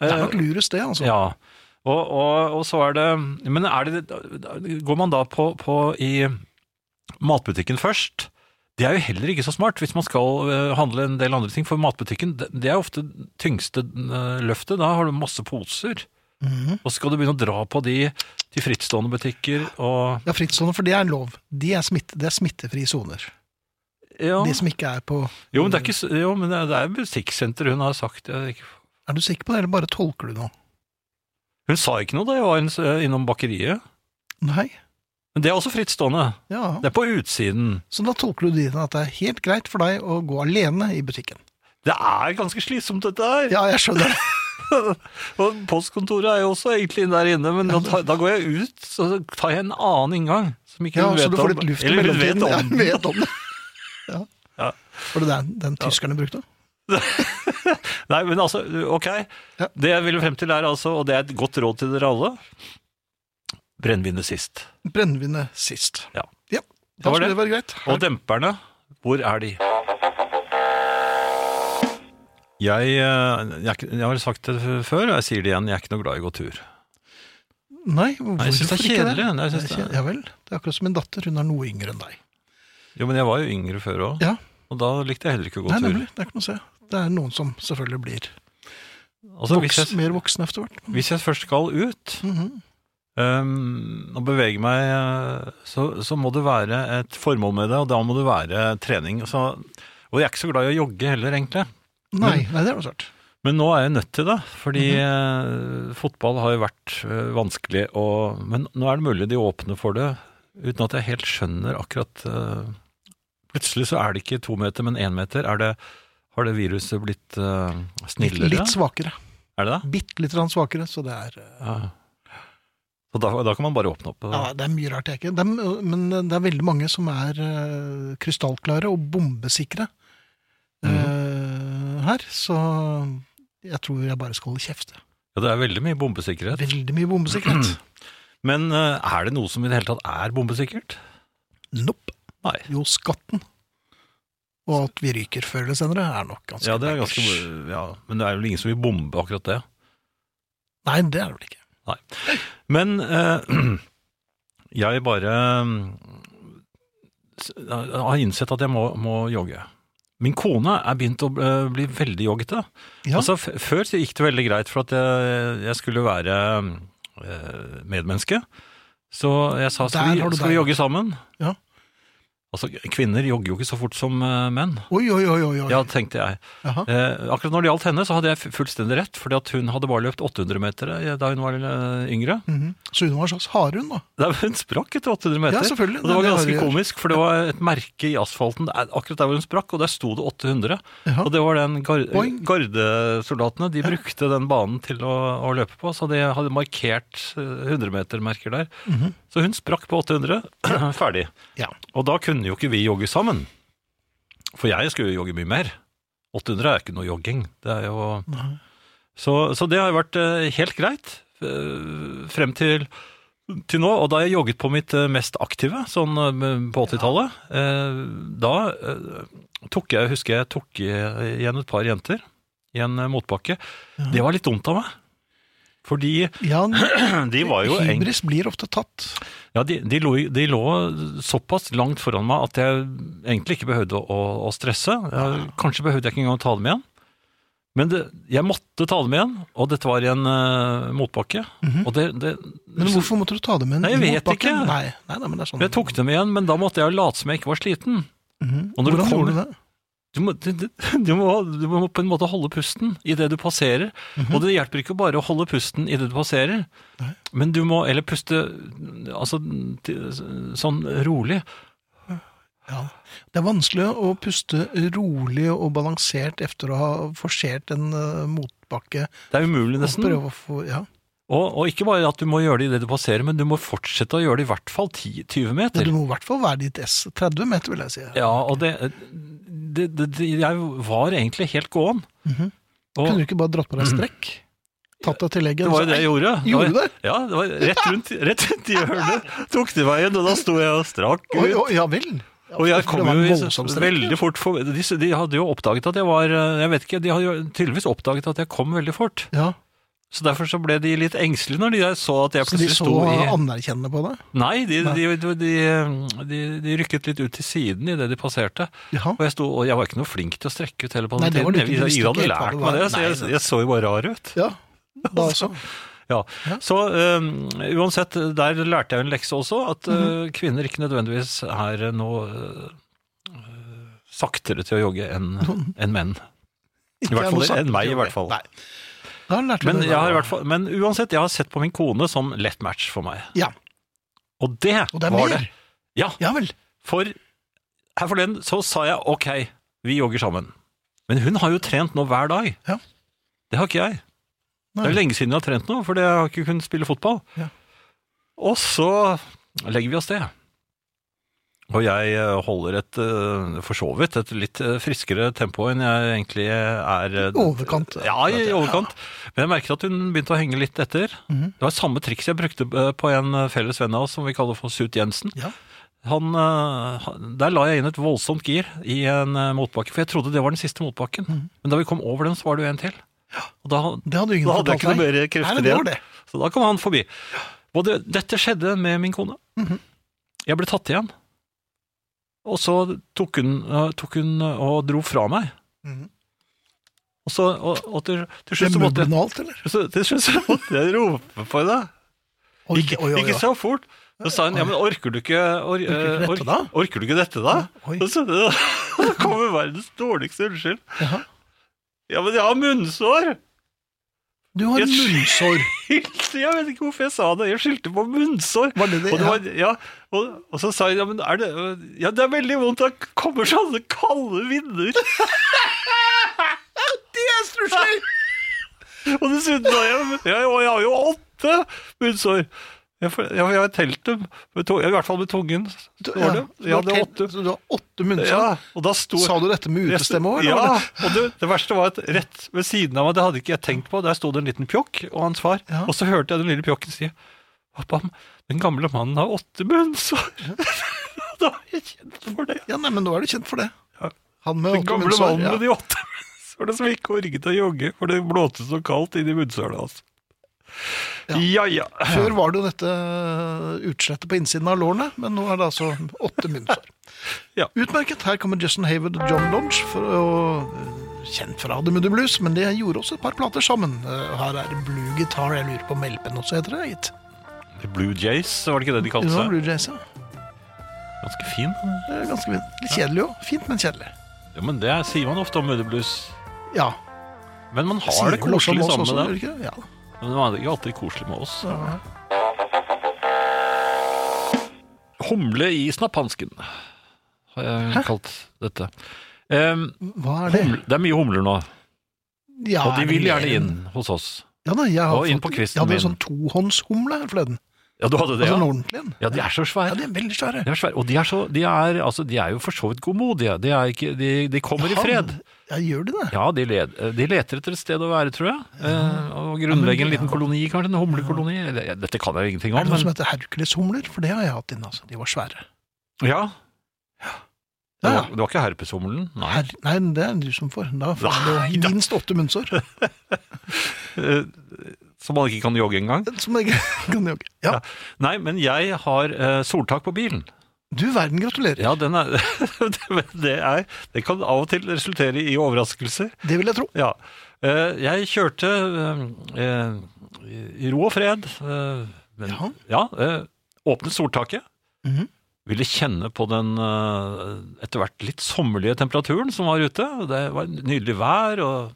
Eh,
Det er nok lurest, det, altså.
Ja, og, og, og så er det Men er det, går man da på, på i matbutikken først? Det er jo heller ikke så smart hvis man skal eh, handle en del andre ting, for matbutikken det det er ofte tyngste eh, løftet. Da har du masse poser,
Mhm.
og så skal du begynne å dra på de til frittstående butikker og
Ja, frittstående, for det er en lov. De er smitte, det er smittefrie soner.
ja.
De som ikke er på
Jo, men det er, ikke, s- jo, men det er- det er butikksenter hun har sagt. Jeg, ikke-
Er du sikker på det, eller bare tolker du nå?
hun sa ikke noe da jeg var inn- s- innom bakeriet.
Nei.
Men det er også frittstående.
Ja.
Det er på utsiden.
Så da tolker du det inn at det er helt greit for deg å gå alene i butikken.
Det er ganske slitsomt, dette her.
Ja, jeg skjønner det.
Og postkontoret er jo også egentlig der inne, men da, tar- da går jeg ut, så tar jeg en annen inngang. Som ikke
Ja,
hun
så
vet
du får
om.
litt luft i
Eller hun vet
mellomtiden.
om.
Jeg vet om det. Ja.
Ja.
Var det den, den tyskerne brukte?
Nei, men altså, ok.
Ja.
Det jeg ville frem til er altså, og det er et godt råd til dere alle, brennevinet sist.
Brennevinet sist.
Ja.
Ja,
Det
da
var
skulle
det.
det være greit.
Og demperne, hvor er de? Jeg, eh, jeg, er ikke- jeg har sagt det f- før, og jeg sier det igjen, jeg er ikke noe glad i å gå tur.
Nei, hvorfor
Nei, jeg synes det er
ikke
kjedelig. Nei, jeg
Det
synes
er
det er-
kje- Ja vel. Det er akkurat som min datter, hun er noe yngre enn deg.
Jo, men jeg var jo yngre før også,
Ja,
og da likte jeg heller ikke å gå
Nei,
tur.
nemlig. Det er ikke noe å se. Det er noen som selvfølgelig blir
Altså,
voks,
hvis jeg-
mer voksne etter hvert.
Hvis jeg først skal ut
Mhm.
øhm, og bevege meg, øh, så, så må det være et formål med det, og da må det være trening. Så, og jeg er ikke så glad i å jogge heller, egentlig.
Nei, nei, det er noe svært.
Men nå er jeg nødt til det, fordi
Mhm.
øh, fotball har jo vært øh, vanskelig. Og, men nå er det mulig de åpner for det, uten at jeg helt skjønner akkurat øh, Plutselig så er det ikke to meter, men én meter. Er det, har det viruset blitt øh,
Litt,
snillere?
litt svakere.
er det det?
Bitte litt grann svakere, så det er eh,
Ja. Så da, da kan man bare åpne opp. og-
Ja, det er mye rart jeg ikke Dem- Men det er veldig mange som er eh, krystallklare og bombesikre
Mhm.
eh, her, så jeg tror jeg bare skal holde kjeft. jeg.
Ja, det er veldig mye bombesikkerhet.
Veldig mye bombesikkerhet.
Men eh, er det noe som i det hele tatt er bombesikkert?
Nope.
Nei.
Jo, skatten. Og at vi ryker før eller senere, er nok ganske
Ja, det er ganske,
bankers.
ja, men det er vel ingen som vil bombe akkurat det.
Nei, det er det vel ikke.
Men eh, jeg bare mm, s- eh, har innsett at jeg må, må jogge. Min kone er begynt å eh, bli veldig joggete.
Ja.
Altså, f før så gikk det veldig greit, for at jeg, jeg skulle være eh, medmenneske. Så jeg sa
Der
skal
har
vi,
du
skal vi
deg.
jogge sammen?
Ja.
Altså, kvinner jogger jo ikke så fort som eh, menn.
Oi, oi, oi, oi. oi.
Ja, tenkte jeg.
Jaha.
Eh, akkurat når det gjaldt henne, så hadde jeg fu- fullstendig rett, fordi at hun hadde bare løpt 800 meter eh, da hun var eh, yngre.
Mhm. Så hun var slags harehund, da.
Nei, men hun sprakk etter 800 meter.
Ja, selvfølgelig.
Og det var
Nei, det
ganske
har vi-
komisk, for det var et merke i asfalten eh, akkurat der hvor hun sprakk, og der sto det 800.
Jaha.
Og det var den gar
Boing.
gardesoldatene, de brukte den banen til å, å løpe på, så de hadde markert eh, 100-metermerker der. Så hun sprakk på 800, ferdig.
Mhm. Ja.
Og da kunne jo ikke vi jogge sammen. For jeg skulle jo jogge mye mer. 800 er ikke noe jogging. Det er jo...
Nei.
Så, så det har jo vært eh, helt greit eh, frem til, til nå. Og da jeg jogget på mitt eh, mest aktive, sånn eh, på 80-tallet, eh, da eh, tok jeg, husker jeg, tok igjen et par jenter i en eh, motbakke. Det var litt dumt av meg. Fordi
Ja,
de var jo eng...
hybris blir ofte tatt.
Ja, de, de, lå, i- de lå såpass langt foran meg at jeg egentlig ikke behøvde å, å stresse. Jeg, kanskje behøvde jeg ikke engang å ta dem igjen. Men det, jeg måtte ta dem igjen, og dette var i en eh, motbakke. Og det, det,
Men
så-
hvorfor måtte du ta det med en
Nei, jeg vet
motbakke?
ikke.
Nei, nei, nei, men det er sånn.
Jeg tok dem igjen, men da måtte jeg jo late som jeg ikke var sliten.
Mhm.
Og når du
Hvordan
kommer-
gjorde du det?
Du må, du, du, du må, du må på en måte holde pusten idet du passerer. Og det hjelper ikke bare å holde pusten idet du passerer,
Mhm. Nei.
men du må Eller puste altså, til- sånn rolig.
Ja. Det er vanskelig å puste rolig og balansert etter å ha forsert en eh, motbakke.
Det er umulig,
Og
nesten.
prøve å få, ja.
Og, og ikke bare at du må gjøre det idet du passerer, men du må fortsette å gjøre det i hvert fall 10, 20
Ja,
meter.
Du må i hvert fall være ditt S. 30 meter, vil jeg si.
Ja, og det, det, det, det Jeg var egentlig helt gåen.
Mhm.
Og
Kunne du ikke bare dratt på deg strekk? Tatt deg til leggen?
Mm. det var jo det jeg gjorde.
Nei, gjorde du det?
Ja, det var rett rundt, rett rundt i hjørnet. Tok de meg igjen, og da sto jeg og strakk
Oi,
ut.
oi, ja vel. Ja,
Og jeg
for
kom
det var
jo
en
i-
voldsom strekk.
veldig fort for, de, de hadde jo oppdaget at jeg var eh, Jeg vet ikke, de hadde jo tydeligvis oppdaget at jeg kom veldig fort.
Ja,
Så derfor så ble de litt engstelige når de så at jeg
Så de
plutselig
så
sto i
anerkjennende på deg?
Nei, de,
Nei.
de, de, de, de rykket litt ut til siden idet de passerte.
Ja.
Og jeg, sto, og jeg var ikke noe flink til å strekke ut hele på
Nei,
den
det var du
tiden.
ikke. Du
Jeg, jeg,
visste
hadde
ikke helt hva
lært
det
meg det,
var.
så
Nei,
jeg, jeg så jo bare rar ut.
ja. Da så.
Altså. Ja.
Ja.
Så øhm, uansett, der lærte jeg en lekse også, at
Mhm.
øh, kvinner ikke nødvendigvis er noe øh, øh, saktere til å jogge enn enn menn. I hvert fall enn meg, i hvert fall.
Nei. Da lærte
Men,
du det.
jeg har i hvert fall, men uansett, jeg har sett på min kone som lett match for meg.
Ja,
Og det,
og det er
var
mer.
det. Ja,
Ja vel.
For her forleden så sa jeg ok, vi jogger sammen. Men hun har jo trent nå hver dag.
Ja.
Det har ikke jeg. Det er jo lenge siden jeg har trent nå, for jeg har ikke kunnet spille fotball.
Ja.
Og så legger vi oss det. Og jeg eh, holder et, eh, for så vidt, et litt eh, friskere tempo enn jeg egentlig er eh,
I overkant.
Ja, i overkant. Men jeg merker at hun begynte å henge litt etter.
Mhm.
Det var samme triks jeg brukte eh, på en eh, felles venn av oss som vi kaller for Sut Jensen.
Ja.
Han, eh, han- der la jeg inn et voldsomt gir i en eh, motbakke, for jeg trodde det var den siste motbakken.
Mhm.
Men da vi kom over den, så var det jo en til. Og da,
Det hadde jo ingen
da hadde jeg ikke
fortalt deg.
noe mer
Nei,
krefter
det går
igjen.
det.
Så da kom han forbi. Og det, dette skjedde med min kone.
Mhm.
Jeg ble tatt igjen. Og så tok hun, eh, tok hun eh, og dro fra meg.
Mhm.
Og, så, og, og til, til
Det
slutt så
er
måtte jeg
mubben og alt, eller?
så til slutt så måtte jeg rope på henne.
Oi,
Ikke,
oi, oi,
ikke
oi.
så fort. Så sa hun ja, men orker du ikke, or,
Orker du ikke dette
ork-
da?»
Orker du ikke dette da?
Oi.
Og så så kommer verdens dårligste unnskyld.
Jaha.
Ja, men jeg har munnsår!
Du har
Jeg-
munnsår.
Skyldte- Jeg vet ikke hvorfor jeg sa det. Jeg skyldte på munnsår.
Var det det?
Og, det var, ja, og, og så sa hun ja, men er det, ja, det er veldig vondt. Det kommer sånne kalde vinder. det er stusslig! og dessuten har jeg, jeg, og jeg har jo åtte munnsår. Jeg, får- jeg, jeg har telt dem, med to- i hvert fall med tungen.
Du-
Står det.
ja,
Jeg
du
hadde
har
åtte.
telt- så Du har åtte munnsår.
Ja, og da sto,
Sa du dette med utestemme òg?
Ja, og det, det verste var at rett ved siden av meg, det hadde ikke jeg tenkt på, der sto det en liten pjokk og hans far,
Ja.
og så hørte jeg den lille pjokken si Pappa, den gamle mannen har åtte munnsår. da har jeg kjent for det.
Ja, nei, men nå er du kjent for det.
Ja.
Han med
Den
åtte
gamle
munnsår.
mannen
ja.
med de åtte munnsårene som ikke orket å jogge, for det blåste så kaldt inn i munnsårene hans. Ja. ja
Før var det jo dette eh, utslettet på innsiden av lårene, men nå er det altså åtte munnsår.
Ja.
Utmerket. Her kommer Justin Hayward og John Lodge, for å, eh, kjent fra The Moody Blues, men de gjorde også et par plater sammen. Eh, Her er det Blue Guitar, jeg lurer på om LP-en også heter det, gitt.
Blue Jays, var det ikke det de
Det
kalte
var
seg?
Blue Jays, ja.
Ganske fin.
Det er Ganske fint. Litt kjedelig òg. Fint, men kjedelig.
Ja, men det sier man ofte om Moody Blues.
Ja.
Men man har
Sier
det
vel også om
koselig
oss
sammen
også,
med dem.
gjør det ikke det? Ja.
Men det var jo alltid koselig med oss. Humle i snapphansken, har jeg kalt dette. Em,
Hva er det?
humle, det er mye humler nå,
Ja,
og de
er det
vil
mer
gjerne
enn-
inn hos oss.
Ja, da, jeg har
Og inn
fått-
på kvisten
Jeg hadde en
min.
sånn tohåndshumle her forleden.
Ja, du hadde det,
Altså en
ja?
ordentlig en.
Ja, de er så
Ja,
svære.
de er veldig svære.
De er svære. Og de er, så, de, er, altså, de er jo for så vidt godmodige. De, er ikke, de, de kommer i
Han-
fred.
Ja, gjør de det?
Ja, de, led, de leter etter et sted å være, tror jeg. Eh, og grunnlegge en liten koloni, kanskje. En humlekoloni. Eller, ja, Dette kan jeg jo ingenting
Er det
om,
noe som
men
heter Herkuleshumler? For det har jeg hatt inne, altså. De var svære.
Ja. Det
Ja.
var, det var ikke herpeshumlen? Nei.
Her, nei, det er du som får. Da får
Nei,
du
da.
minst åtte munnsår.
Eh, Som man ikke kan jogge engang?
Som jeg kan jogge. Ja,
Nei, men jeg har eh, soltak på bilen.
du verden, gratulerer.
Ja, den er, det, er, det kan av og til resultere i overraskelser.
Det vil jeg tro.
Ja. Eh, jeg kjørte eh, eh, i ro og fred. eh, men,
Ja.
eh, åpnet soltaket.
Mhm.
Ville kjenne på den eh, etter hvert litt sommerlige temperaturen som var ute. Det var nydelig vær. og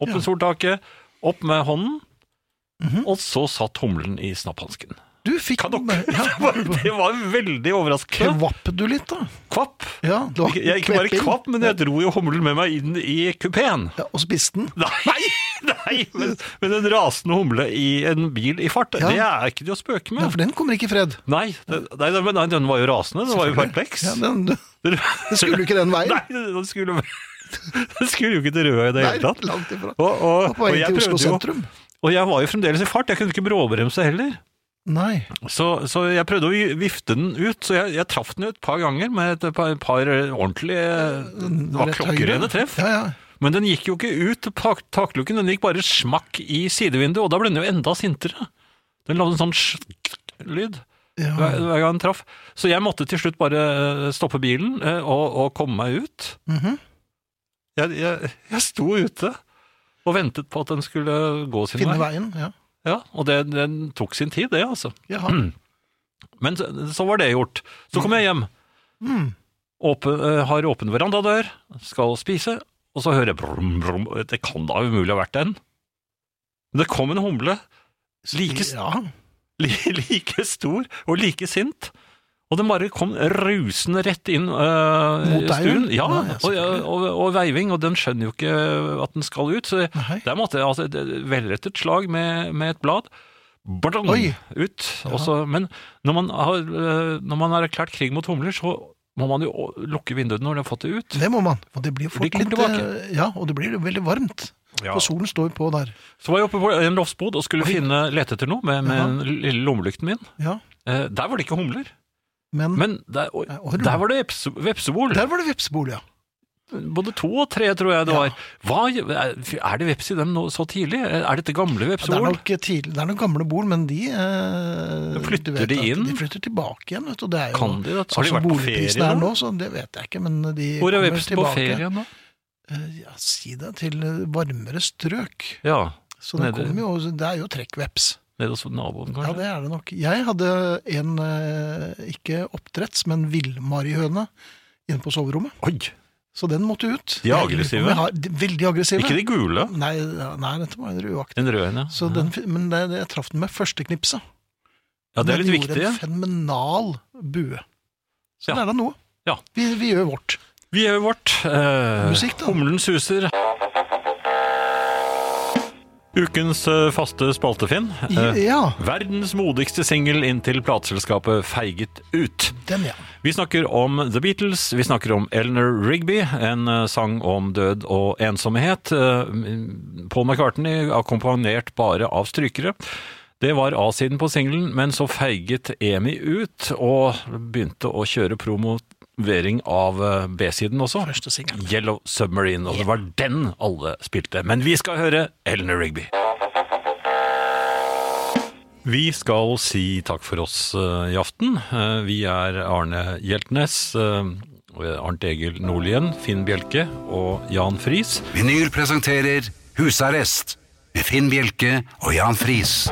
Opp
Ja.
med
Mhm.
soltaket, opp med hånden. Og så satt humlen i snapphansken.
Du fikk
Kan dere? Det var,
Ja,
det var veldig overraskende.
Kvapp du litt, da?
Kvapp.
Ja, det var
Ikke, jeg, ikke bare
kvepping.
kvapp, men jeg dro jo humlen med meg inn i kupeen.
ja, Og spiste den.
Nei, nei, men, men en rasende humle i en bil i fart,
Ja.
det er ikke det å spøke
Ja,
med.
for den kommer ikke i fred.
Nei, den- nei, den- nei, den var jo rasende, den var jo perpleks.
Ja, den, den
Den-
skulle jo ikke den veien.
Nei, den skulle, den skulle jo ikke til Røa i det hele tatt.
langt ifra.
Og, og,
Og på
og,
vei
jeg
til Oslo
prøvde jo,
sentrum.
og jeg var jo fremdeles i fart, jeg kunne ikke bråbremse heller.
Nei.
Så, så jeg prøvde å vifte den ut, så jeg, jeg traff den jo et par ganger med et par, par ordentlige Det var
rett høyre.
klokkerene treff.
Ja, ja.
Men den gikk jo ikke ut tak taklukken, den gikk bare smakk i sidevinduet, og da ble den jo enda sintere. Den lagde en sånn sj-lyd
ja.
hver, hver gang den traff. Så jeg måtte til slutt bare eh, stoppe bilen eh, og, og komme meg ut.
Mhm.
jeg, jeg, jeg sto ute og ventet på at den skulle gå sin
Finne
vei.
veien. Ja.
Ja, og det, den tok sin tid, det altså.
Jaha.
Men så, så var det gjort. Så kom jeg hjem.
Mm.
Åpen, eh, har åpen verandadør, skal spise, og så hører jeg brum, brum. Det kan da umulig ha vært den. Men det kom en humle, like,
Ja.
li- like stor og like sint, Og den bare kom rusende rett inn øh,
Mot deg,
stuen.
vel?
Ja,
Ja, ja,
og, og, og veiving, og den skjønner jo ikke at den skal ut. Så
Nei.
der måtte jeg altså, et velrettet slag med, med et blad. Badang,
Oi.
Ut. og så- men når man, har, øh, når man har erklært krig mot humler, så må man jo å- lukke vinduene når de har fått det ut.
Det må man. Og det blir jo fort
De kommer
litt eh, Ja, og det blir jo veldig varmt.
Ja.
For solen står jo på der.
Så var jeg oppe på en loftsbod og skulle finne, lete etter noe med, med den lille lommelykten min.
Ja,
Eh, der var det ikke humler,
men,
men der, oi,
Nei, og humler.
der var det vepse, vepsebol.
Der var det vepsebol, ja.
Både to og tre, tror jeg det var. Hva, er det veps i dem nå, så tidlig? Er dette gamle
Det er
vepsebol?
nok, tidlig, det er nok gamle bol, men de eh,
Flytter
du vet
de
at
inn?
De flytter tilbake igjen, vet du. og Det er jo,
Kan de det? Har
sånn
de
som
vært på
boligprisen
ferie
er
nå?
nå, så det vet jeg ikke, men de
Hvor er
kommer
vepsen på
tilbake.
ferie nå?
Eh, ja, si det til eh, varmere strøk.
Ja,
Så det,
Nede.
kommer jo, det er jo trekkveps.
nede hos naboen
Ja,
kanskje.
det er det nok. Jeg hadde en, eh, ikke oppdretts, men villmarihøne inne på soverommet.
Oi,
Så den måtte ut.
De er
Jeg lurer på om
aggressive.
jeg Har, de, veldig aggressive.
ikke de gule?
Nei, ja, nei, dette var en rødaktig.
Den røde, ja.
Så den, men det, det, jeg traff den med første knipset.
Ja, det er litt
den
viktig.
gjorde en fenomenal bue. Så det
Ja.
er da noe.
Ja.
Vi, vi gjør vårt.
Vi gjør vårt. Eh,
Musikk, da.
Humlen suser. Ukens eh, faste spaltefinn.
I,
Eh,
ja,
Verdens modigste singel inntil plateselskapet feiget ut.
den ja.
Vi snakker om The Beatles, vi snakker om Eleanor Rigby, en eh, sang om død og ensomhet. Eh, Paul McCartney akkompagnert bare av strykere. Det var A-siden på singelen, men så feiget EMI ut og begynte å kjøre promovering av eh, B-siden også.
Første singelen.
Yellow Submarine, og det var den alle spilte. Men vi skal høre Eleanor Rigby. Vi skal si takk for oss eh, i aften. Eh, Vi er Arne Hjeltnes, eh, Arnt Egil Nordlien, Finn Bjelke og Jan Friis.
Vinyl presenterer Husarrest med Finn Bjelke og Jan Friis.